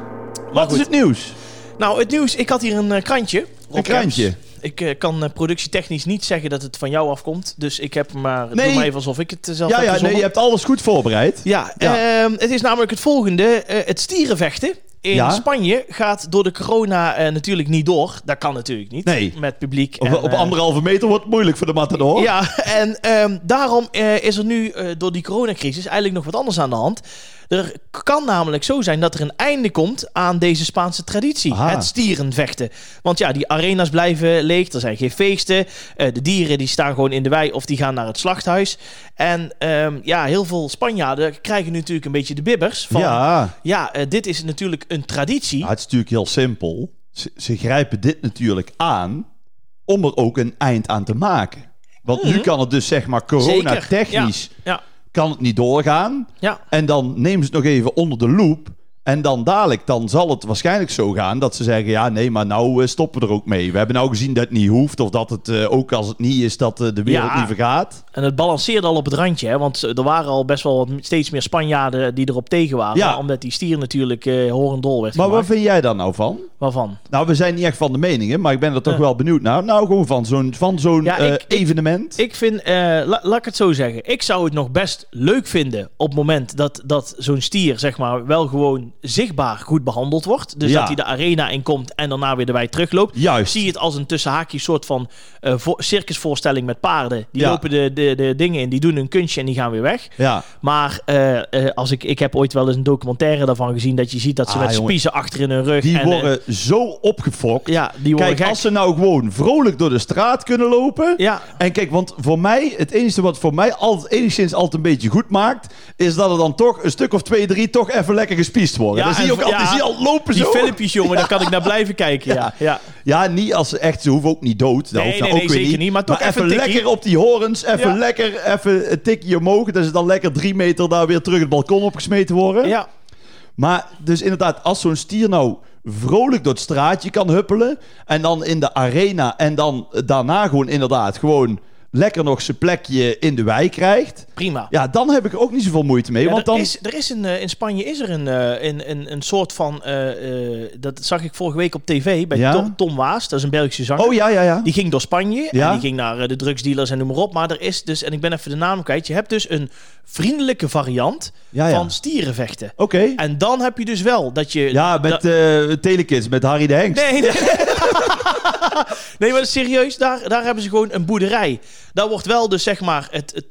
Wat
goed.
is het nieuws?
Nou, het nieuws. Ik had hier een eh, krantje. Rob Kemps.
krantje?
Ik eh, kan eh, productietechnisch niet zeggen dat het van jou afkomt. Dus ik heb maar...
Nee.
Doe maar even alsof ik het eh, zelf heb
Ja, ja, nee,
verzonnen.
je hebt alles goed voorbereid.
Ja, ehm, het is namelijk het volgende. Eh, het stierenvechten in
Ja.
Spanje gaat door de corona eh, natuurlijk niet door. Dat kan natuurlijk niet.
Nee.
Met publiek.
Op,
en,
op
eh,
anderhalve meter wordt het moeilijk voor de matador.
Ja, en ehm, daarom eh, is er nu eh, door die coronacrisis eigenlijk nog wat anders aan de hand. Er kan namelijk zo zijn dat er een einde komt aan deze Spaanse traditie.
Aha.
Het stierenvechten. Want ja, die arena's blijven leeg, er zijn geen feesten. eh, de dieren die staan gewoon in de wei of die gaan naar het slachthuis. En ehm, ja, heel veel Spanjaarden krijgen nu natuurlijk een beetje de bibbers. Van, ja,
ja.
eh, dit is natuurlijk een traditie.
Ja, het is natuurlijk heel simpel. Ze, ze grijpen dit natuurlijk aan om er ook een eind aan te maken. Want nu kan het dus zeg maar corona-technisch
Mhm. Ja,
kan het niet doorgaan.
ja,
En dan nemen ze het nog even onder de loep. En dan dadelijk, dan zal het waarschijnlijk zo gaan dat ze zeggen... ja, nee, maar nou eh, stoppen we er ook mee. We hebben nou gezien dat het niet hoeft... of dat het eh, ook als het niet is, dat eh, de wereld
Ja.
niet vergaat.
En het balanceerde al op het randje, hè? want eh, er waren al best wel wat, steeds meer Spanjaarden die erop tegen waren.
Ja.
Omdat die stier natuurlijk eh horendol werd
Maar wat
gemaakt.
vind jij daar nou van?
Waarvan?
Nou, we zijn niet echt van de meningen, maar ik ben er toch
Ja.
wel benieuwd naar. Nou, gewoon van zo'n van zo'n
Eh. Ja,
eh,
ik- ik-
evenement.
Ik vind, eh, la- laat ik het zo zeggen, ik zou het nog best leuk vinden op het moment dat, dat zo'n stier zeg maar wel gewoon zichtbaar goed behandeld wordt. Dus
Ja.
dat hij de arena in komt en daarna weer de wei terugloopt. Ik
Juist.
zie het als een tussenhaakjes soort van eh, vo- circusvoorstelling met paarden. Die
Ja.
lopen de, de, de dingen in, die doen hun kunstje en die gaan weer weg.
Ja.
Maar eh, eh, als ik, ik heb ooit wel eens een documentaire daarvan gezien dat je ziet dat ze
Ah,
met
jongen.
spiezen achter in hun rug.
Die
en, eh,
worden zo opgefokt.
ja, die worden
Kijk,
gek.
als ze nou gewoon vrolijk door de straat kunnen lopen.
Ja,
En kijk, want voor mij, het enige wat voor mij altijd, enigszins altijd een beetje goed maakt, is dat er dan toch een stuk of twee, drie toch even lekker gespiest worden.
Ja,
dan zie je
en
ook altijd,
ja,
zie je al lopen
die
zo.
filmpjes, jongen, daar kan ik naar blijven kijken. Ja, ja.
Ja, niet als ze echt, ze hoeven ook niet dood. Dat
Nee,
hoeft
nee,
nou
nee,
ook weer
zeker niet, maar toch even
even,
een tikkie.
lekker op die horens, even
Ja.
lekker, even een tikje omhoog. Dat ze dan lekker drie meter daar weer terug het balkon opgesmeten worden.
ja.
Maar dus inderdaad, als zo'n stier nou vrolijk door het straatje kan huppelen... en dan in de arena en dan daarna gewoon inderdaad gewoon lekker nog zijn plekje in de wei krijgt...
prima.
ja, dan heb ik er ook niet zoveel moeite mee,
Ja,
want
er
dan...
is, er is een, eh, in Spanje is er een, eh, een, een, een soort van, eh, eh, dat zag ik vorige week op tv bij
Ja?
Tom, Tom Waas, dat is een Belgische zanger.
Oh ja, ja, ja.
Die ging door Spanje
Ja?
en die ging naar eh, de drugsdealers en noem maar op. Maar er is dus, en ik ben even de naam kwijt, je hebt dus een vriendelijke variant
Ja, ja.
van stierenvechten.
Oké.
En dan heb je dus wel dat je...
Ja, met
dat-
eh Telekids, met Harry de Hengst.
Nee, nee, nee. Nee, maar serieus, daar, daar hebben ze gewoon een boerderij. Daar wordt wel dus zeg maar het, het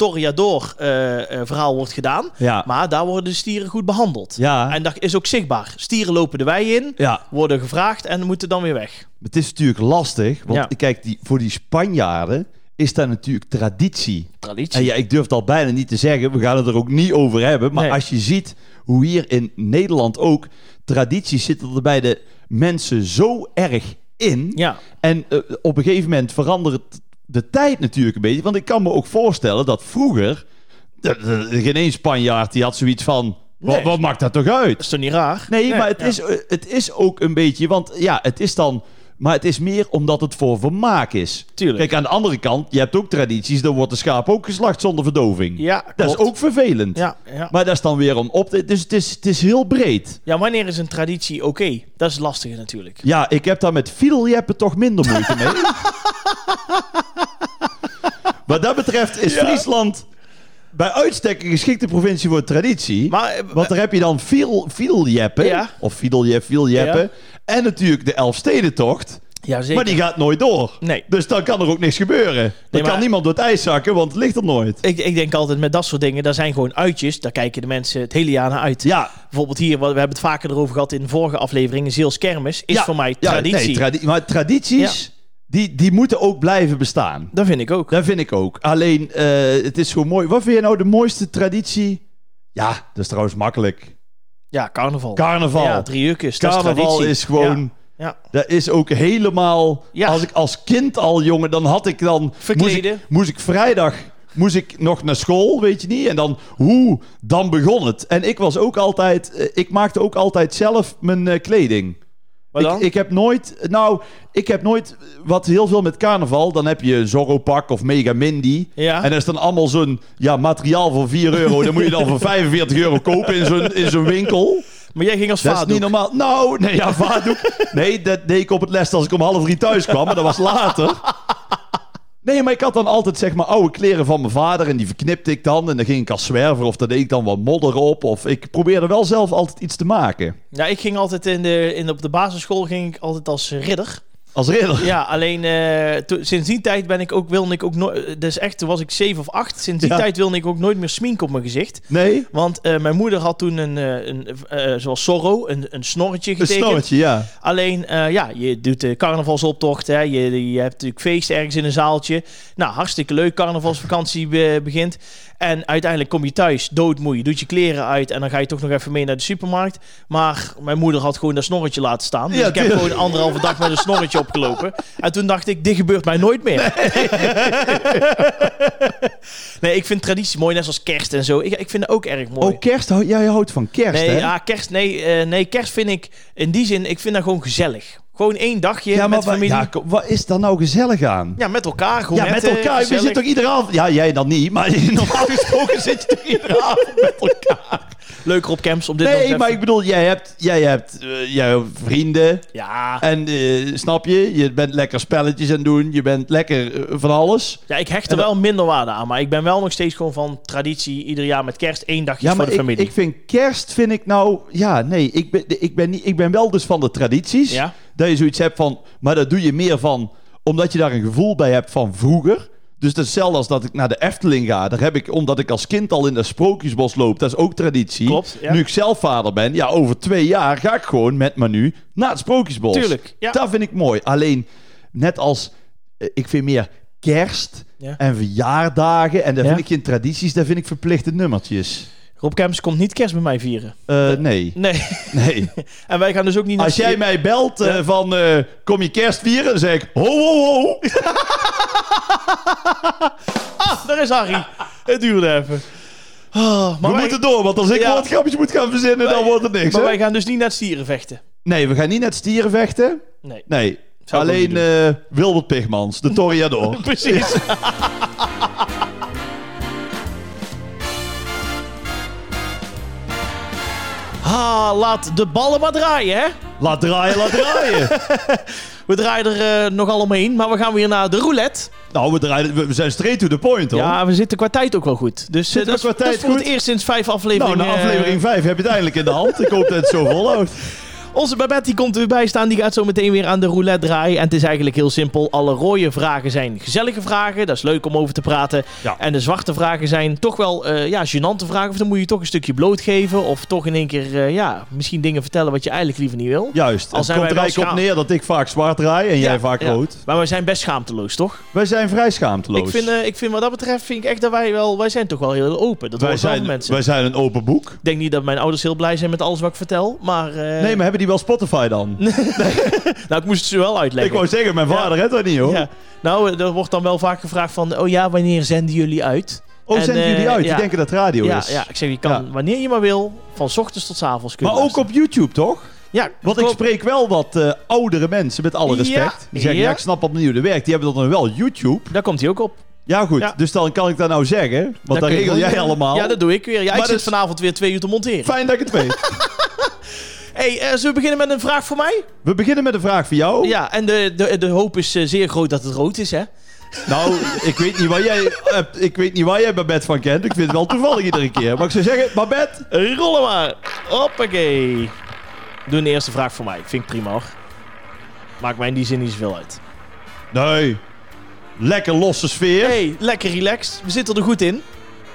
Torreador-verhaal wordt gedaan.
Ja.
Maar daar worden de stieren goed behandeld.
Ja.
En dat is ook zichtbaar. Stieren lopen de wei in,
ja,
worden gevraagd en moeten dan weer weg.
het is natuurlijk lastig, want
Ja.
kijk, die, voor die Spanjaarden is dat natuurlijk traditie.
Traditie.
En ja, ik durf het al bijna niet te zeggen. We gaan het er ook niet over hebben. Maar
Nee.
als je ziet hoe hier in Nederland ook tradities zitten er bij de mensen zo erg in.
Ja.
En eh, op een gegeven moment verandert de tijd natuurlijk een beetje. Want ik kan me ook voorstellen dat vroeger... de- de- de- geen één Spanjaard die had zoiets van... "Wat-
Nee.
Wat, maakt dat toch uit?
Dat is toch niet raar?
Nee, maar het,
ja.
is, eh, het is ook een beetje... Want ja, het is dan... Maar het is meer omdat het voor vermaak is.
Tuurlijk.
Kijk, aan de andere kant, je hebt ook tradities. Dan wordt de schaap ook geslacht zonder verdoving.
Ja,
Dat is
klopt.
ook vervelend.
Ja, ja.
Maar dat is dan weer om op te... Dus het is, het is heel breed.
ja, wanneer is een traditie oké? Dat is lastig natuurlijk.
Ja, ik heb daar met fiedeljeppen toch minder moeite mee. Wat dat betreft is Friesland bij uitstek een geschikte provincie voor traditie.
Maar, eh,
want daar heb je dan fiedel- fiedeljeppen.
Ja.
Of fiedeljeppen, fiedeljeppen. En natuurlijk de Elfstedentocht.
Ja, zeker.
Maar die gaat nooit door.
Nee.
Dus dan kan er ook niks gebeuren. Dan
maar-
kan niemand door het ijs zakken, want het ligt er nooit.
Ik, ik denk altijd met dat soort dingen, daar zijn gewoon uitjes. Daar kijken de mensen het hele jaar naar uit.
Ja,
Bijvoorbeeld hier, wat- we hebben het vaker erover gehad in de vorige afleveringen. Zeels Kermis is
ja,
voor mij
ja,
traditie.
nee, tradi- maar tradities, die, die moeten ook blijven bestaan.
dat vind ik ook.
Dat vind ik ook. Alleen, eh, het is gewoon mooi. Wat vind je nou de mooiste traditie? Ja, dat is trouwens makkelijk.
Ja, carnaval.
Carnaval.
Ja, driehoekjes. dat
Carnaval
traditie.
is, gewoon...
Ja. Ja.
Dat is ook helemaal...
Ja.
Als ik als kind al, jongen, dan had ik dan...
Verkleden.
Moest ik, moest ik vrijdag... Moest ik nog naar school, weet je niet? En dan, hoe, dan begon het. En ik was ook altijd... eh, Ik maakte ook altijd zelf mijn eh, kleding.
Maar dan?
Ik, ik heb nooit... Nou, ik heb nooit... Wat heel veel met carnaval... Dan heb je een Zorro-pak of Mega Mindy.
Ja.
En dat is dan allemaal zo'n... Ja, materiaal voor 4 euro. Dan moet je dan voor 45 euro kopen in zo'n, in zo'n winkel.
Maar jij ging als
Dat is
vader.
niet normaal. Nou, nee, ja, vaatdoek. Nee, dat deed ik op het les als ik om half drie thuis kwam, maar dat was later. Nee, maar ik had dan altijd zeg maar oude kleren van mijn vader en die verknipte ik dan. En dan ging ik als zwerver of daar deed ik dan wat modder op. Of ik probeerde wel zelf altijd iets te maken.
Ja, ik ging altijd in de, in, op de basisschool ging ik altijd als eh, ridder.
Als ridder.
Ja, alleen eh, to- sinds die tijd ben ik ook, wilde ik ook nooit... Dus echt, toen was ik zeven of acht. Sinds die
Ja.
tijd wilde ik ook nooit meer sminken op mijn gezicht.
Nee,
Want eh, mijn moeder had toen een, eh, een eh, zoals Zorro, een, een snorretje
een
getekend.
snorretje, ja.
Alleen, eh, ja, je doet de carnavalsoptocht. Hè. Je, je hebt natuurlijk feest ergens in een zaaltje. Nou, hartstikke leuk. Carnavalsvakantie be- begint. En uiteindelijk kom je thuis doodmoe. Je doet je kleren uit en dan ga je toch nog even mee naar de supermarkt. Maar mijn moeder had gewoon dat snorretje laten staan. Dus
Ja,
ik heb
tuurlijk.
gewoon anderhalve dag met een snorretje opgelopen. En toen dacht ik, dit gebeurt mij nooit meer. Nee, ik vind traditie mooi, net zoals kerst en zo. Ik, ik vind dat ook erg mooi.
Oh, kerst. hou- Jij houdt van kerst,
Nee,
hè?
ja, kerst, nee, eh, nee, kerst vind ik in die zin, ik vind dat gewoon gezellig. Gewoon één dagje
ja, maar
met
wa-
familie.
ja,
Ja,
kom, wat is daar nou gezellig aan?
met elkaar. Gewoon
Ja, met
eh,
elkaar. We
gezellig.
zitten toch iedere avond... Ja, jij dan niet, maar normaal gesproken zit je toch iedere avond met elkaar.
Leuker op camps op dit moment.
Nee, maar ik bedoel, jij hebt, jij hebt, eh, jij hebt vrienden.
Ja.
En eh, snap je, je bent lekker spelletjes aan het doen. Je bent lekker eh, van alles.
ja, ik hecht er wel minder waarde aan. Maar ik ben wel nog steeds gewoon van traditie. Ieder jaar met kerst één dagje
Ja,
voor
maar
de
ik,
familie.
ik vind kerst, vind ik nou... Ja, nee, ik ben, ik ben, niet, ik ben wel dus van de tradities.
Ja.
Dat je zoiets hebt van... Maar dat doe je meer van... Omdat je daar een gevoel bij hebt van vroeger. Dus dat is hetzelfde als dat ik naar de Efteling ga. Daar heb ik, omdat ik als kind al in dat sprookjesbos loop. Dat is ook traditie.
Klopt, ja.
Nu ik zelf vader ben. Ja, over twee jaar ga ik gewoon met Manu naar het sprookjesbos.
Tuurlijk, ja.
Dat vind ik mooi. Alleen, net als... eh, Ik vind meer kerst...
Ja.
En verjaardagen. En daar
Ja.
vind ik geen tradities. Daar vind ik verplichte nummertjes.
Rob Camps komt niet kerst bij mij vieren.
Eh, nee,
Nee.
nee.
en wij gaan dus ook niet naar...
Als jij mij belt eh,
Ja.
van eh, kom je kerst vieren, dan zeg ik ho ho ho.
Ah, daar is Harry. Het duurde even. Ah, maar
we
wij-
moeten door, want als ik
Ja.
woordgrapjes moet gaan verzinnen, dan
Wij-
wordt het niks.
Maar
hè?
wij gaan dus niet naar het stieren vechten.
Nee, we gaan niet net stieren vechten.
Nee.
Nee,
Zou ik ook
alleen
niet
eh Wilbert Pigmans, de Toriador.
Precies. Ha, laat de ballen maar draaien, hè?
laat draaien, laat draaien.
We draaien er eh, nogal omheen, maar we gaan weer naar de roulette.
nou, we, draaien, we, we zijn straight to the point, hoor.
Ja, we zitten qua tijd ook wel goed. Dus eh,
Zitten we
dat, is-
qua
dat is
tijd
voor het
goed?
eerst sinds vijf
nou,
afleveringen.
na aflevering
eh,
5 heb je het eindelijk in de hand. Ik hoop dat het zo volhoudt.
Onze Babette die komt er weer bij staan. Die gaat zo meteen weer aan de roulette draaien. En het is eigenlijk heel simpel. Alle rode vragen zijn gezellige vragen. Dat is leuk om over te praten.
Ja.
En de zwarte vragen zijn toch wel eh ja, gênante vragen. Of dan moet je toch een stukje blootgeven. Of toch in één keer eh, ja, misschien dingen vertellen wat je eigenlijk liever niet wil.
Juist,
Al
het
zijn
komt er
wij wel
eigenlijk op
schaam-
neer dat ik vaak zwart draai en jij
Ja,
vaak
ja.
rood.
Maar we zijn best schaamteloos, toch?
Wij zijn vrij
Ik
schaamteloos.
vind, eh, ik vind wat dat betreft vind ik echt dat wij wel... Wij zijn toch wel heel open. Dat
wij,
horen wel
zijn,
van mensen.
wij zijn een open boek.
Ik denk niet dat mijn ouders heel blij zijn met alles wat ik vertel. Maar, eh,
Nee, maar hebben die wel Spotify dan?
Nou, ik moest het ze wel uitleggen.
Ik wou zeggen, mijn
Ja.
vader heeft dat niet hoor.
Ja. Nou, eh, er wordt dan wel vaak gevraagd van... Oh ja, wanneer zenden jullie uit?
Oh,
En,
zenden
eh,
jullie uit?
ja.
Die denken dat radio
Ja,
is.
ja, ik zeg, je kan wanneer je maar wil, van 's ochtends tot 's avonds
Maar
kunnen
ook op YouTube toch?
Ja,
Want ik
klopt.
spreek wel wat eh, oudere mensen, met alle
Ja,
respect. Die zeggen, ja.
ja.
ik snap opnieuw de werk. Die hebben dan wel YouTube.
Daar komt hij ook op.
Ja goed,
Ja.
dus dan kan ik dat nou zeggen. Want
Daar
dat
kun je
regel
gewoon-
jij allemaal.
Ja, dat doe ik weer. Ja,
Maar
ik zit
dus-
vanavond weer twee uur te monteren.
Fijn dat ik het weet.
hey, eh, zullen we beginnen met een vraag voor mij?
We beginnen met een vraag voor jou.
Ja, en de, de, de hoop is eh, zeer groot dat het rood is, hè?
Nou, ik weet niet waar jij, hebt- ik weet niet waar jij Babette van kent. Ik vind het wel toevallig iedere keer. Maar ik zou zeggen, Babette,
Rollen maar. Hoppakee. Doe een eerste vraag voor mij. Vind ik prima, hoor. Maakt mij in die zin niet zoveel uit.
Nee. Lekker losse sfeer.
Hey, lekker relaxed. We zitten er goed in.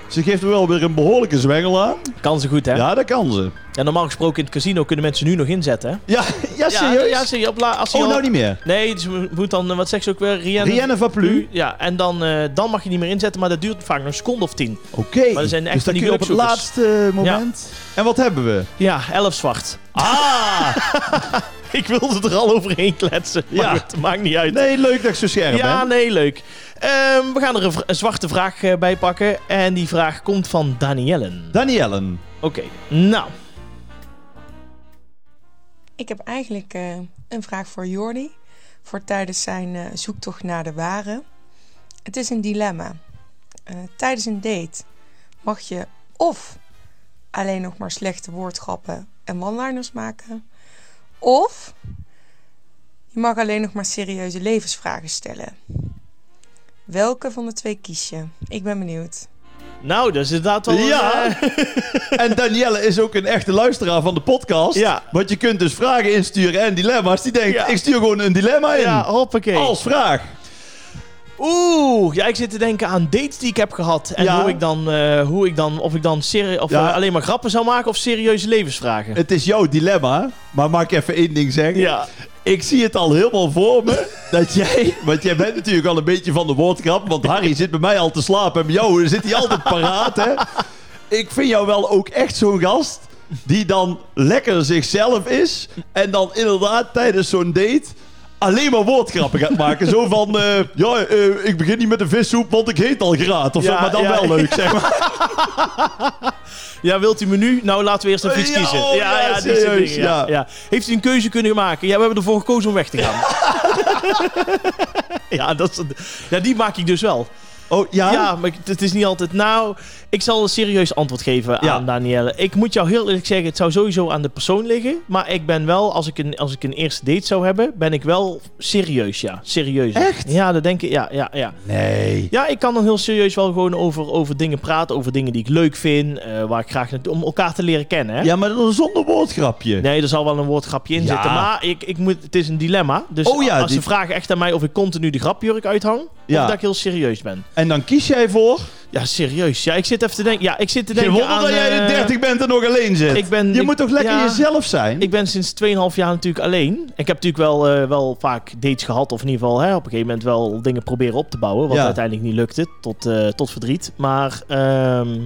Ze geeft er wel weer een behoorlijke zwengel aan.
Kan ze goed, hè?
Ja, dat kan ze.
Ja, normaal gesproken in het casino kunnen mensen nu nog inzetten, hè?
Ja, ja
Ja,
Ah, serieus?
Ja, serieus. Op la- Als je
oh,
al-
nou niet meer.
Nee, dus we moet dan, eh, wat zegt ze ook weer? Rienne,
Rienne van Plu.
Ja, en dan, eh, dan mag je niet meer inzetten, maar dat duurt vaak nog een seconde of tien.
Oké.
Maar er zijn echt
dus
van
dan
die
kun je op het
gelukzoekers.
laatste eh, moment. En wat hebben we?
Ja, elf zwart.
Ah!
Ik wilde er al overheen kletsen, maar
Ja.
goed, maakt niet uit.
Nee, leuk dat ik zo scherp
ja,
ben.
nee, leuk. Ehm, we gaan er een, vr- een zwarte vraag eh, bij pakken. En die vraag komt van Daniellen.
Daniellen.
Oké, nou.
Ik heb eigenlijk eh, een vraag voor Jordi. Voor tijdens zijn eh, zoektocht naar de ware. Het is een dilemma. Eh, tijdens een date mag je of alleen nog maar slechte woordgrappen en one-liners maken. Of je mag alleen nog maar serieuze levensvragen stellen. Welke van de twee kies je? Ik ben benieuwd.
Nou, dat is inderdaad wel... een,
Ja.
eh,
En Danielle is ook een echte luisteraar van de podcast.
Ja.
Want je kunt dus vragen insturen en dilemma's. Die denkt,
Ja.
ik stuur gewoon een dilemma in.
ja, hoppakee.
Als vraag.
Oeh, ja, ik zit te denken aan dates die ik heb gehad. En
Ja.
hoe ik dan, eh, hoe ik dan, of ik dan serie, of,
Ja.
eh, alleen maar grappen zou maken of serieuze levensvragen.
Het is jouw dilemma. Maar mag ik even één ding zeggen?
ja.
Ik zie het al helemaal voor me dat jij... Want jij bent natuurlijk al een beetje van de woordgrap. Want Harry zit bij mij al te slapen. En bij jou zit hij altijd paraat, hè? Ik vind jou wel ook echt zo'n gast die dan lekker zichzelf is. En dan inderdaad tijdens zo'n date alleen maar woordgrappen gaat maken. Zo van, eh, ja, eh, ik begin niet met een vissoep, want ik heet al graat. Of
Ja,
zo, maar dan
ja.
wel leuk, zeg maar.
ja, wilt u menu? Nou, laten we eerst even iets
Ja,
kiezen.
oh, ja,
die soort
serieus,
dingen, ja,
ja.
ja. Heeft u een keuze kunnen maken? Ja, we hebben ervoor gekozen om weg te gaan. ja, dat is, een- ja, die maak ik dus wel.
Oh, ja?
Ja, maar ik- het is niet altijd. Nou, ik zal een serieus antwoord geven
Ja.
aan Danielle. Ik moet jou heel eerlijk zeggen, het zou sowieso aan de persoon liggen. Maar ik ben wel, als ik een, als ik een eerste date zou hebben, ben ik wel serieus, ja. Serieus.
Echt?
Ja, dat denk ik. Ja, ja, ja.
Nee.
Ja, ik kan dan heel serieus wel gewoon over, over dingen praten. Over dingen die ik leuk vind. eh, waar ik graag naartoe- om elkaar te leren kennen. Hè?
Ja, maar dan zonder woordgrapje.
Nee, er zal wel een woordgrapje in
Ja.
zitten. Maar ik, ik moet, het is een dilemma. Dus
Oh ja,
als
die-
ze vragen echt aan mij of ik continu de grapjurk uithang.
Ja.
Of dat ik heel serieus ben.
En dan kies jij voor...
Ja, serieus. Ja, ik zit even te denken. Ja, ik zit te
Geen
denken
wonder
aan,
dat jij de
eh,
30 bent en nog alleen zit.
ik ben-
je
ik-
moet toch lekker
ja.
jezelf zijn?
Ik ben sinds 2,5 jaar natuurlijk alleen. Ik heb natuurlijk wel, eh, wel vaak dates gehad. Of in ieder geval hè, op een gegeven moment wel dingen proberen op te bouwen. Wat
Ja.
uiteindelijk niet lukte. Tot, eh, tot verdriet. Maar ehm,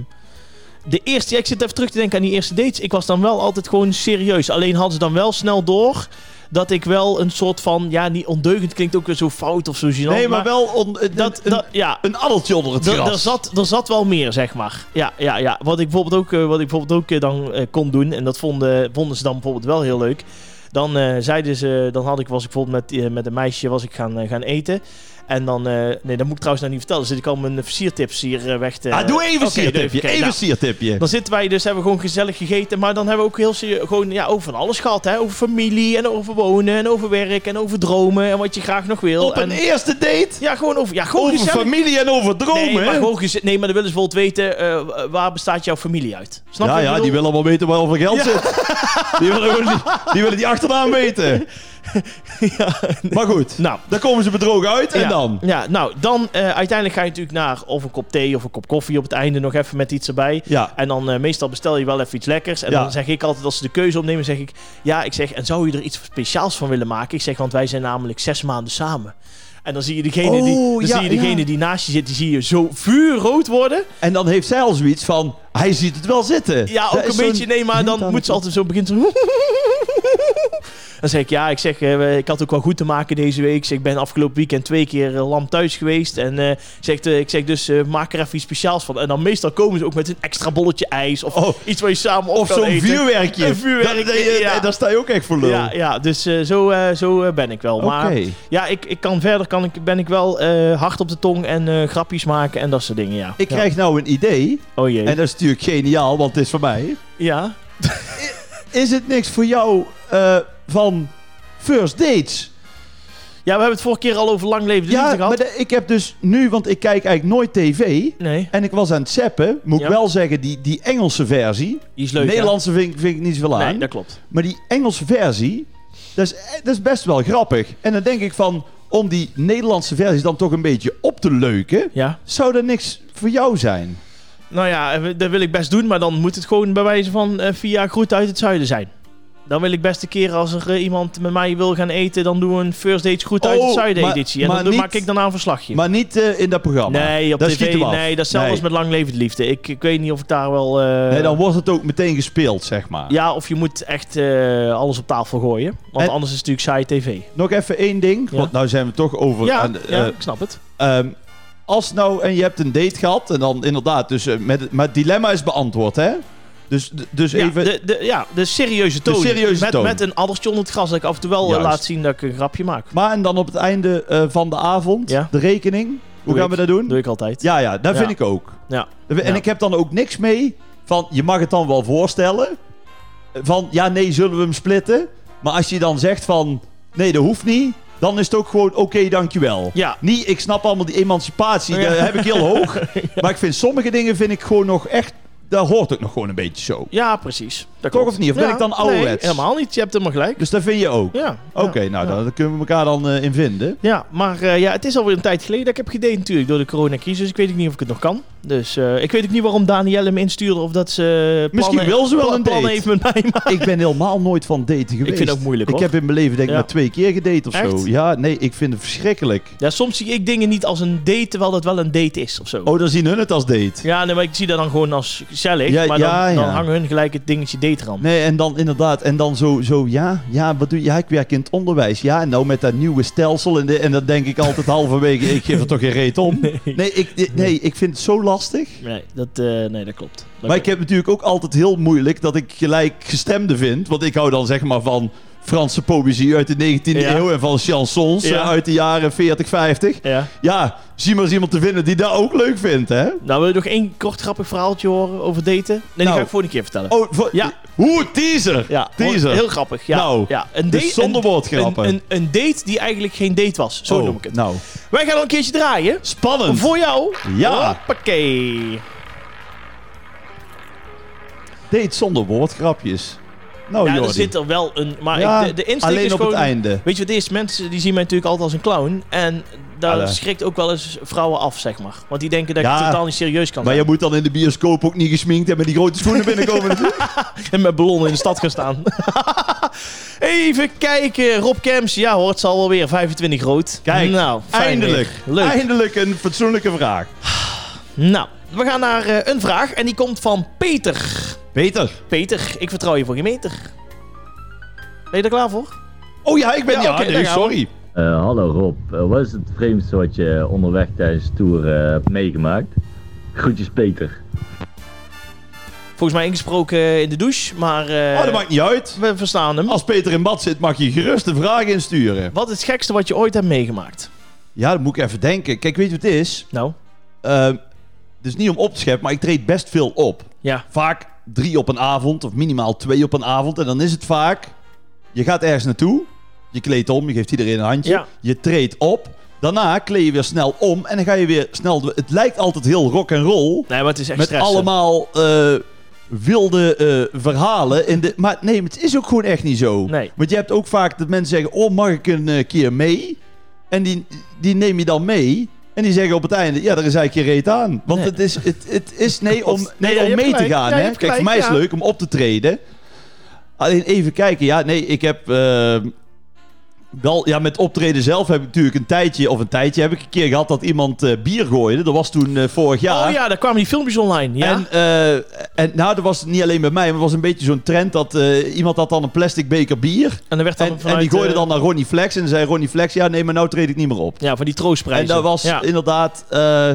de eerste... ja, ik zit even terug te denken aan die eerste dates. Ik was dan wel altijd gewoon serieus. Alleen hadden ze dan wel snel door... Dat ik wel een soort van... Ja, niet ondeugend klinkt ook weer zo fout of zo gênant.
nee, maar wel on- een,
Dat,
een,
dat, ja,
een addeltje onder het
Er-
gras.
Er zat, er zat wel meer, zeg maar. Ja, ja, ja. Wat ik bijvoorbeeld ook, eh, wat ik bijvoorbeeld ook eh, dan eh, kon doen, en dat vonden, vonden ze dan bijvoorbeeld wel heel leuk. Dan eh, zeiden ze, dan had ik, was ik bijvoorbeeld met, eh, met een meisje was ik gaan, eh, gaan eten. En dan, eh, nee, dat moet ik trouwens nou niet vertellen. Zit ik al mijn versiertips hier eh, weg te.
ah, doe even
Oké,
een siertipje.
oké,
even
nou,
een siertipje.
dan zitten wij dus, hebben we gewoon gezellig gegeten. Maar dan hebben we ook heel serieus, gewoon ja, over van alles gehad. Hè? Over familie en over wonen en over werk en over dromen en wat je graag nog wil.
Op een
en,
eerste date?
ja, gewoon over, ja, gewoon
over
gezellig
familie en over dromen.
Nee, maar,
hè?
gewoon gez- nee, maar dan willen ze bijvoorbeeld weten, eh, waar bestaat jouw familie uit? Snap je? wat
ja,
ik
ja,
bedoel?
die willen allemaal weten waarover geld zit. Die willen, gewoon die, die willen die achternaam weten. Maar goed,
Nou.
daar komen ze bedrogen uit.
ja,
En dan?
Ja, nou, dan eh, uiteindelijk ga je natuurlijk naar of een kop thee of een kop koffie op het einde nog even met iets erbij.
Ja.
En dan eh, meestal bestel je wel even iets lekkers. En
Ja.
dan zeg ik altijd, als ze de keuze opnemen, zeg ik... Ja, ik zeg, en zou je er iets speciaals van willen maken? Ik zeg, want wij zijn namelijk zes maanden samen. En dan zie je degene, die,
Oh,
dan
ja,
zie je degene
ja.
die naast je zit, die zie je zo vuurrood worden.
En dan heeft zij al zoiets van, hij ziet het wel zitten.
Ja,
Dat
ook
is
een
zo'n-
beetje. Nee, maar dan moet ze altijd zo beginnen. zo- Dan zeg ik, ja, ik zeg, eh, ik had ook wel goed te maken deze week. Ik zeg, Ik ben afgelopen weekend twee keer eh, lam thuis geweest. En eh, ik, zeg, eh, ik zeg dus, eh, maak er even iets speciaals van. En dan meestal komen ze ook met een extra bolletje ijs. Of
Oh.
iets waar je samen op
Of
kan
zo'n
eten.
vuurwerkje.
Een vuurwerkje,
Daar- daar-
ja.
Daar sta je ook echt voor lul.
Ja, ja, dus eh, zo, eh, zo eh, ben ik wel.
Oké.
Maar ja, ik, ik kan verder kan ik, ben ik wel eh, hard op de tong en eh, grapjes maken en dat soort dingen, ja.
Ik
Ja.
krijg nou een idee.
Oh jee.
En dat is natuurlijk geniaal, want het is van mij.
ja.
Is het niks voor jou eh, van first dates?
Ja, we hebben het vorige keer al over lang leven de
Ja,
liefde
maar
gehad.
de- ik heb dus nu, want ik kijk eigenlijk nooit tv.
Nee,
En ik was aan het zappen. Moet
Ja.
ik wel zeggen, die, die Engelse versie.
die is leuk. hè?
Nederlandse vind, ik- vind ik niet zoveel aan.
Nee, dat klopt.
Maar die Engelse versie, Dat is, eh, dat is best wel grappig. En dan denk ik van, om die Nederlandse versies dan toch een beetje op te leuken,
Ja.
zou dat niks voor jou zijn?
Nou ja, eh, dat wil ik best doen, maar dan moet het gewoon bij wijze van eh, via groet uit het zuiden zijn. Dan wil ik best een keer als er eh, iemand met mij wil gaan eten, dan doen we een First Dates Groet uit het
Oh,
Zuiden
maar-
editie. En
maar
dan doe-
niet-
maak ik daarna een verslagje.
Maar niet eh, in dat programma.
nee, op
dat schiet
tv,
hem af.
nee, dat is zelfs
Nee.
met Lang Levend Liefde. Ik, ik weet niet of ik daar wel... eh,
Nee, dan wordt het ook meteen gespeeld, zeg maar.
Ja, of je moet echt eh, alles op tafel gooien. Want
En-
anders is het natuurlijk saai tv.
Nog even één ding,
Ja.
want nou zijn we toch over
Ja,
aan... de-
ja,
eh,
ik snap het.
Ehm, als nou, en je hebt een date gehad, en dan inderdaad, dus eh, met, maar het dilemma is beantwoord, hè? Dus, d- dus
Ja,
even.
de, de, ja, de serieuze toon.
serieuze
met,
toon.
met een addertje onder het gras dat ik af en toe wel eh,
Juist.
laat zien dat ik een grapje maak.
Maar en dan op het einde eh, van de avond,
Ja.
de rekening. Hoe
Doe
gaan
ik.
we dat doen?
doe ik altijd.
Ja, ja, dat
Ja.
vind ik ook.
Ja.
Dat we- En
Ja.
ik heb dan ook niks mee van, je mag het dan wel voorstellen. Van, ja, nee, zullen we hem splitten? Maar als je dan zegt van, nee, dat hoeft niet, dan is het ook gewoon, oké, dankjewel.
Ja.
Niet, ik snap allemaal die emancipatie,
Ja.
dat heb ik heel hoog. Maar ik vind sommige dingen vind ik gewoon nog echt, daar hoort ook nog gewoon een beetje zo.
Ja, precies. Dat
Toch
klopt.
of niet? Of ben
Ja,
ik dan
Nee,
ouderwets?
helemaal niet. Je hebt helemaal gelijk.
Dus dat vind je ook?
Ja.
Oké,
ja,
nou,
ja.
dan daar kunnen we elkaar dan eh, in vinden.
Ja, maar eh, ja, het is alweer een tijd geleden dat ik heb gedate natuurlijk door de coronacrisis. Dus Ik weet ook niet of ik het nog kan. Dus eh, ik weet ook niet waarom Danielle me instuurde of dat ze eh,
Misschien
plannen,
wil ze wel een
plannen
date.
heeft met mij. Maar...
ik ben helemaal nooit van daten geweest.
vind het ook moeilijk,
Ik
hoor.
heb in mijn leven denk ik
Ja.
maar twee keer gedate of
Echt?
zo. Ja, nee, ik vind het verschrikkelijk.
Ja, soms zie ik dingen niet als een date, terwijl dat wel een date is of zo.
Oh, dan zien hun het als date.
Ja, nee, maar ik zie dat dan gewoon als gezellig.
Ja,
maar dan,
ja,
dan
ja.
hangen hun gelijk het dingetje date eraan.
Nee, en dan inderdaad, en dan zo, zo ja, ja, wat doe je? Ja, ik werk in het onderwijs. Ja, en nou met dat nieuwe stelsel en, de, en dat denk ik altijd halverwege, ik geef er toch geen reet om.
Nee.
Nee, ik, nee, ik vind het zo lastig.
Nee, dat, eh, nee, dat klopt. Dat
Maar ik
klopt.
heb natuurlijk ook altijd heel moeilijk dat ik gelijk gestemde vind. Want ik hou dan zeg maar van Franse poëzie uit de 19e
Ja.
eeuw en van chansons eh,
Ja.
uit de jaren 40, 50.
Ja.
Ja, zie maar eens iemand te vinden die dat ook leuk vindt, hè?
Nou, wil je nog één kort grappig verhaaltje horen over daten? Nee, die
Nou.
ga ik volgende keer vertellen.
Oh, voor-
Ja.
Hoe, teaser!
Ja,
teaser.
heel grappig. Ja,
Nou,
ja. Een
dus
date-
zonder
een-
woordgrappen.
Een, een, een date die eigenlijk geen date was. Zo
Oh,
noem ik het.
Nou,
Wij gaan al een keertje draaien.
spannend.
Voor jou.
Ja. Oh,
Hoppakee.
Date zonder woordgrapjes. Nou,
ja, er
Jordi.
zit er wel een... Maar
Ja,
ik, de, de insteek
alleen
is
op
gewoon...
het einde.
Weet je wat het is? Mensen die zien mij natuurlijk altijd als een clown. En daar
Alle.
schrikt ook wel eens vrouwen af, zeg maar. Want die denken dat ik
Ja.
totaal niet serieus kan
Maar je
zijn.
moet dan in de bioscoop ook niet gesminkt en met die grote schoenen binnenkomen. natuurlijk.
En met ballonnen in de stad gaan staan. Even kijken. Rob Kemps. Ja hoor, het zal wel weer 25 rood.
Kijk,
nou, fijn
eindelijk.
weer. Leuk.
Eindelijk een fatsoenlijke vraag.
Nou, we gaan naar eh, een vraag en die komt van Peter.
Peter.
Peter, ik vertrouw je voor geen meter. Ben je er klaar voor?
Oh ja, ik ben...
Ja,
Ja,
oké,
nee,
daar gaan we.
sorry.
Eh, hallo Rob, Eh, wat is het vreemdste wat je onderweg tijdens de tour eh, hebt meegemaakt? Groetjes Peter.
Volgens mij ingesproken in de douche, maar eh,
Oh, dat maakt niet uit.
we verstaan hem.
Als Peter in bad zit, mag je gerust een vraag insturen.
Wat is het gekste wat je ooit hebt meegemaakt?
Ja, dat moet ik even denken. Kijk, weet je wat het is?
Nou,
Ehm, dus niet om op te scheppen, maar ik treed best veel op.
ja.
Vaak drie op een avond of minimaal twee op een avond. En dan is het vaak, je gaat ergens naartoe, je kleedt om, je geeft iedereen een handje,
Ja.
je treedt op. Daarna kleed je weer snel om en dan ga je weer snel... de- Het lijkt altijd heel rock and roll
Nee, maar het is echt
met
stressen.
allemaal eh, wilde eh, verhalen. In de... Maar nee, het is ook gewoon echt niet zo.
Nee.
Want je hebt ook vaak dat mensen zeggen, oh mag ik een eh, keer mee? En die, die neem je dan mee. En die zeggen op het einde, ja, daar is eigenlijk je reet aan. Want
Nee.
het, is, het, het is nee om,
Nee,
nee,
ja, je
om
hebt
mee te
gelijk.
gaan.
Ja, je
hè?
hebt
Kijk, voor mij
gelijk,
is het
ja.
leuk om op te treden. Alleen even kijken. Ja, nee, ik heb... eh, wel, ja, met optreden zelf heb ik natuurlijk een tijdje... Of een tijdje heb ik een keer gehad dat iemand eh, bier gooide. Dat was toen eh, vorig jaar.
Oh ja, daar kwamen die filmpjes online. Ja.
En, eh, en nou, dat was het niet alleen bij mij, maar het was een beetje zo'n trend dat eh, iemand had dan een plastic beker bier.
En dan werd dan
En,
vanuit...
en die gooide
eh,
dan naar Ronnie Flex en dan zei Ronnie Flex, ja nee, maar nou treed ik niet meer op.
Ja, van die troostprijzen.
En dat was
Ja.
inderdaad... eh,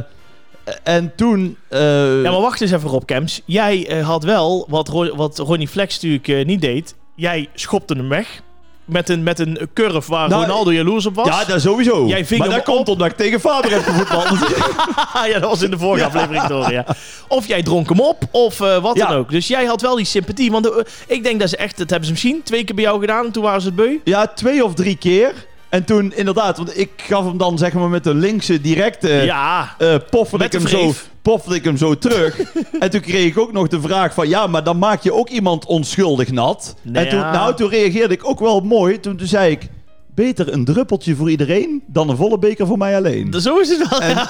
en toen... eh,
Ja, maar wacht eens even, Rob Kemps. Jij eh, had wel, wat, Ro- wat Ronnie Flex natuurlijk eh, niet deed, jij schopte hem weg. Met een, met een curve waar
Nou,
Ronaldo jaloers op was.
ja, dat sowieso.
Jij ving
maar
hem
dat komt omdat ik tegen vader heb gevoetbald.
Ah, ja, dat was in de vorige aflevering, toch? Ja. Of jij dronk hem op, of eh, wat
Ja.
dan ook. Dus jij had wel die sympathie. Want eh, ik denk dat ze echt, dat hebben ze misschien twee keer bij jou gedaan. En toen waren ze het beu.
ja, twee of drie keer. En toen inderdaad, want ik gaf hem dan zeg maar met de linkse directe
ja.
eh pofferde
Met
ik, hem
de
zo,
wreef.
pofferde ik hem zo terug. en toen kreeg ik ook nog de vraag van... ja, maar dan maak je ook iemand onschuldig nat.
Nou
en toen,
ja.
nou, toen reageerde ik ook wel mooi. Toen, toen zei ik... beter een druppeltje voor iedereen... dan een volle beker voor mij alleen.
d- Zo is het
Eh.
wel. ja.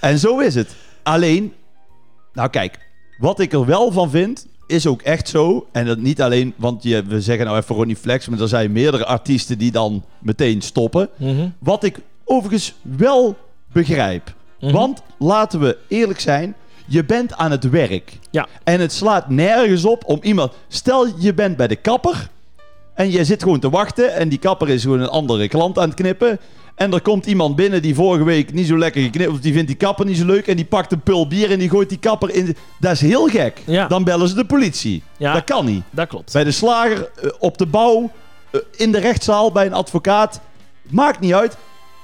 En zo is het. Alleen... Nou kijk, wat ik er wel van vind... Is ook echt zo. En dat niet alleen, want je, we zeggen nou even Ronnie Flex, maar er zijn meerdere artiesten die dan meteen stoppen. Wat ik overigens wel begrijp. Want laten we eerlijk zijn, je bent aan het werk.
Ja.
En het slaat nergens op om iemand. Stel je bent bij de kapper en je zit gewoon te wachten en die kapper is gewoon een andere klant aan het knippen. En er komt iemand binnen die vorige week niet zo lekker geknipt, of die vindt die kapper niet zo leuk en die pakt een pul bier en die gooit die kapper in. de- Dat is heel gek.
Ja.
Dan bellen ze de politie.
Ja.
Dat kan niet.
Dat klopt.
Bij de slager, eh, op de bouw, eh, in de rechtszaal, bij een advocaat. Maakt niet uit.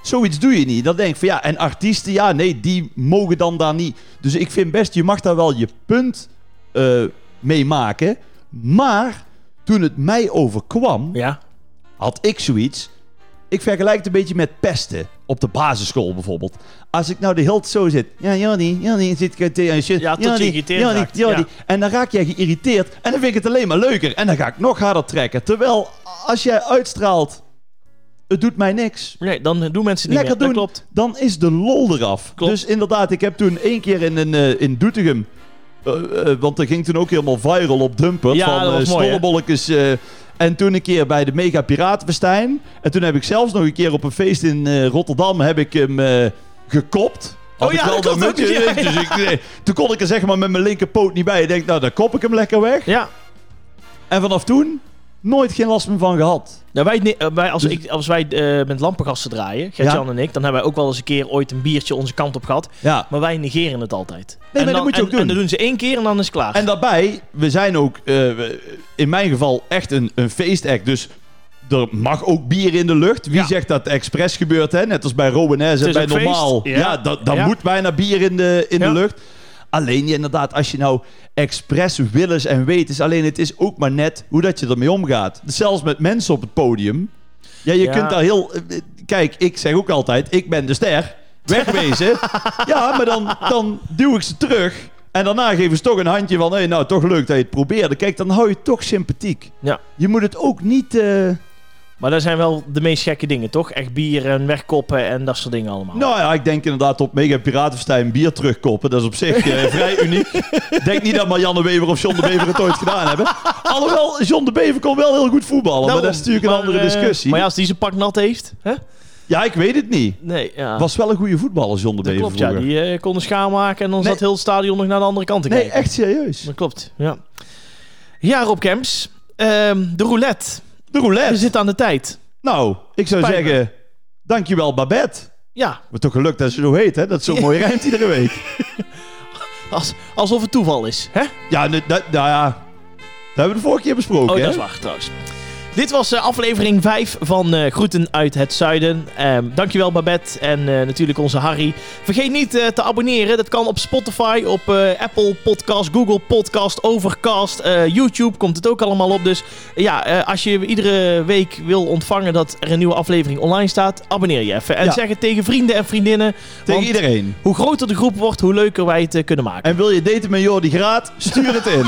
Zoiets doe je niet. Dan denk ik van ja, en artiesten, ja, nee, die mogen dan daar niet. Dus ik vind best, je mag daar wel je punt eh, mee maken. Maar toen het mij overkwam,
Ja.
had ik zoiets. Ik vergelijk het een beetje met pesten. Op de basisschool bijvoorbeeld. Als ik nou de hele tijd zo zit. Ja, Jordi, Jordi, zit ik tegen je shit.
Ja, tot je
Jordi,
geïrriteerd
Jordi,
raakt,
Jordi.
ja.
En dan raak jij geïrriteerd. En dan vind ik het alleen maar leuker. En dan ga ik nog harder trekken. Terwijl, als jij uitstraalt... Het doet mij niks.
Nee, dan doen mensen het niet
Lekker
meer.
doen.
Dat klopt.
Dan is de lol eraf.
Klopt.
Dus inderdaad, ik heb toen één keer in, een, eh, in Doetinchem... eh, eh, want er ging toen ook helemaal viral op Dumper
Ja, dat was
van eh
mooi, hè?
stollebolletjes. eh, en toen een keer bij de Mega Piratenfestijn. En toen heb ik zelfs nog een keer op een feest in eh, Rotterdam heb ik hem eh, gekopt. Had
Oh ja,
ik wel
dat klopt
mutje
ook, ja,
in, dus ik, nee, toen kon ik er zeg maar met mijn linkerpoot niet bij. Ik denk, nou, dan kop ik hem lekker weg.
Ja.
En vanaf toen nooit geen last meer van gehad.
Nou, wij, ne- eh, wij, als,
Dus-
ik, als wij eh, met lampengasten draaien, Gert-Jan en ik, dan hebben wij ook wel eens een keer ooit een biertje onze kant op gehad.
Ja.
Maar wij negeren het altijd. Nee,
maar dat moet je ook doen.
En dan doen ze één keer en dan is het klaar.
En daarbij, we zijn ook eh, we- in mijn geval echt een, een feestact. Dus er mag ook bier in de lucht. Wie
Ja.
zegt dat expres gebeurt, hè? Net als bij Rowenaise en
is
bij
een feest.
Normaal.
Ja.
Ja, dat, dan
Ja.
moet bijna bier in de, in
Ja.
de lucht. Alleen je inderdaad, als je nou expres willens en wetens... Alleen het is ook maar net hoe dat je ermee omgaat. Zelfs met mensen op het podium. Ja, je
Ja.
kunt daar heel... eh, Kijk, ik zeg ook altijd, ik ben de ster. Wegwezen. ja, maar dan, dan duw ik ze terug. En daarna geven ze toch een handje van... Hey, nou, toch leuk dat je het probeerde. Kijk, dan hou je het toch sympathiek.
Ja.
Je moet het ook niet... eh,
Maar dat zijn wel de meest gekke dingen, toch? Echt bier en wegkoppen en dat soort dingen allemaal.
Nou ja, ik denk inderdaad op Mega Piratenfestijn bier terugkoppen. Dat is op zich eh, vrij uniek. Ik denk niet dat Marianne Weber of John de Bever het ooit gedaan hebben. Alhoewel, John de Bever kon wel heel goed voetballen. maar dat is natuurlijk een
maar,
andere
eh,
discussie.
maar ja,
ja,
als die zijn pak nat heeft. Hè?
ik weet het niet.
Nee, ja.
Was wel een goede voetballer, John
dat
de Bever
klopt, ja.
vroeger.
Die eh, konden schaam maken en dan
Nee.
zat heel het stadion nog naar de andere kant te
Nee,
kijken.
echt serieus.
Dat klopt, ja. Ja, Rob Kemps. Ehm, de roulette.
De roulette.
We zitten aan de tijd.
Nou, ik zou
Spijt me.
zeggen, dankjewel Babette.
Ja,
Maar toch gelukt dat ze zo heet, hè? Dat zo mooi rijmt iedere week.
als, alsof het toeval is. Hè?
Ja, nu- dat, nou ja, dat hebben we de vorige keer besproken,
Oh,
hè?
dat is waar, trouwens. Dit was eh, aflevering 5 van eh, Groeten uit het Zuiden. Ehm, dankjewel Babette en eh, natuurlijk onze Harry. Vergeet niet eh, te abonneren. Dat kan op Spotify, op eh, Apple Podcast, Google Podcast, Overcast, eh, YouTube komt het ook allemaal op. Dus ja, eh, als je iedere week wil ontvangen dat er een nieuwe aflevering online staat, abonneer je even. En
Ja.
zeg het tegen vrienden en vriendinnen.
Tegen
want
iedereen.
hoe groter de groep wordt, hoe leuker wij het eh, kunnen maken.
En wil je daten met Jordi Graat? Stuur het in.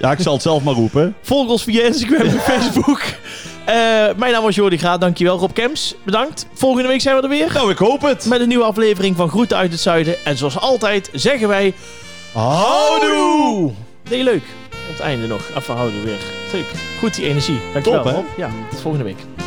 ja, ik zal het zelf maar roepen.
Volg ons via Instagram en Facebook. Eh, mijn naam was Jordi Graat. Dankjewel Rob Kems. Bedankt. Volgende week zijn we er weer.
Nou, ik hoop het.
Met een nieuwe aflevering van Groeten uit het Zuiden. En zoals altijd zeggen wij...
Houdoe!
Deed je leuk. Op het einde nog. Even houden weer. Leuk. Goed die energie. Dankjewel
Top, hè?
Rob. Ja, tot volgende week.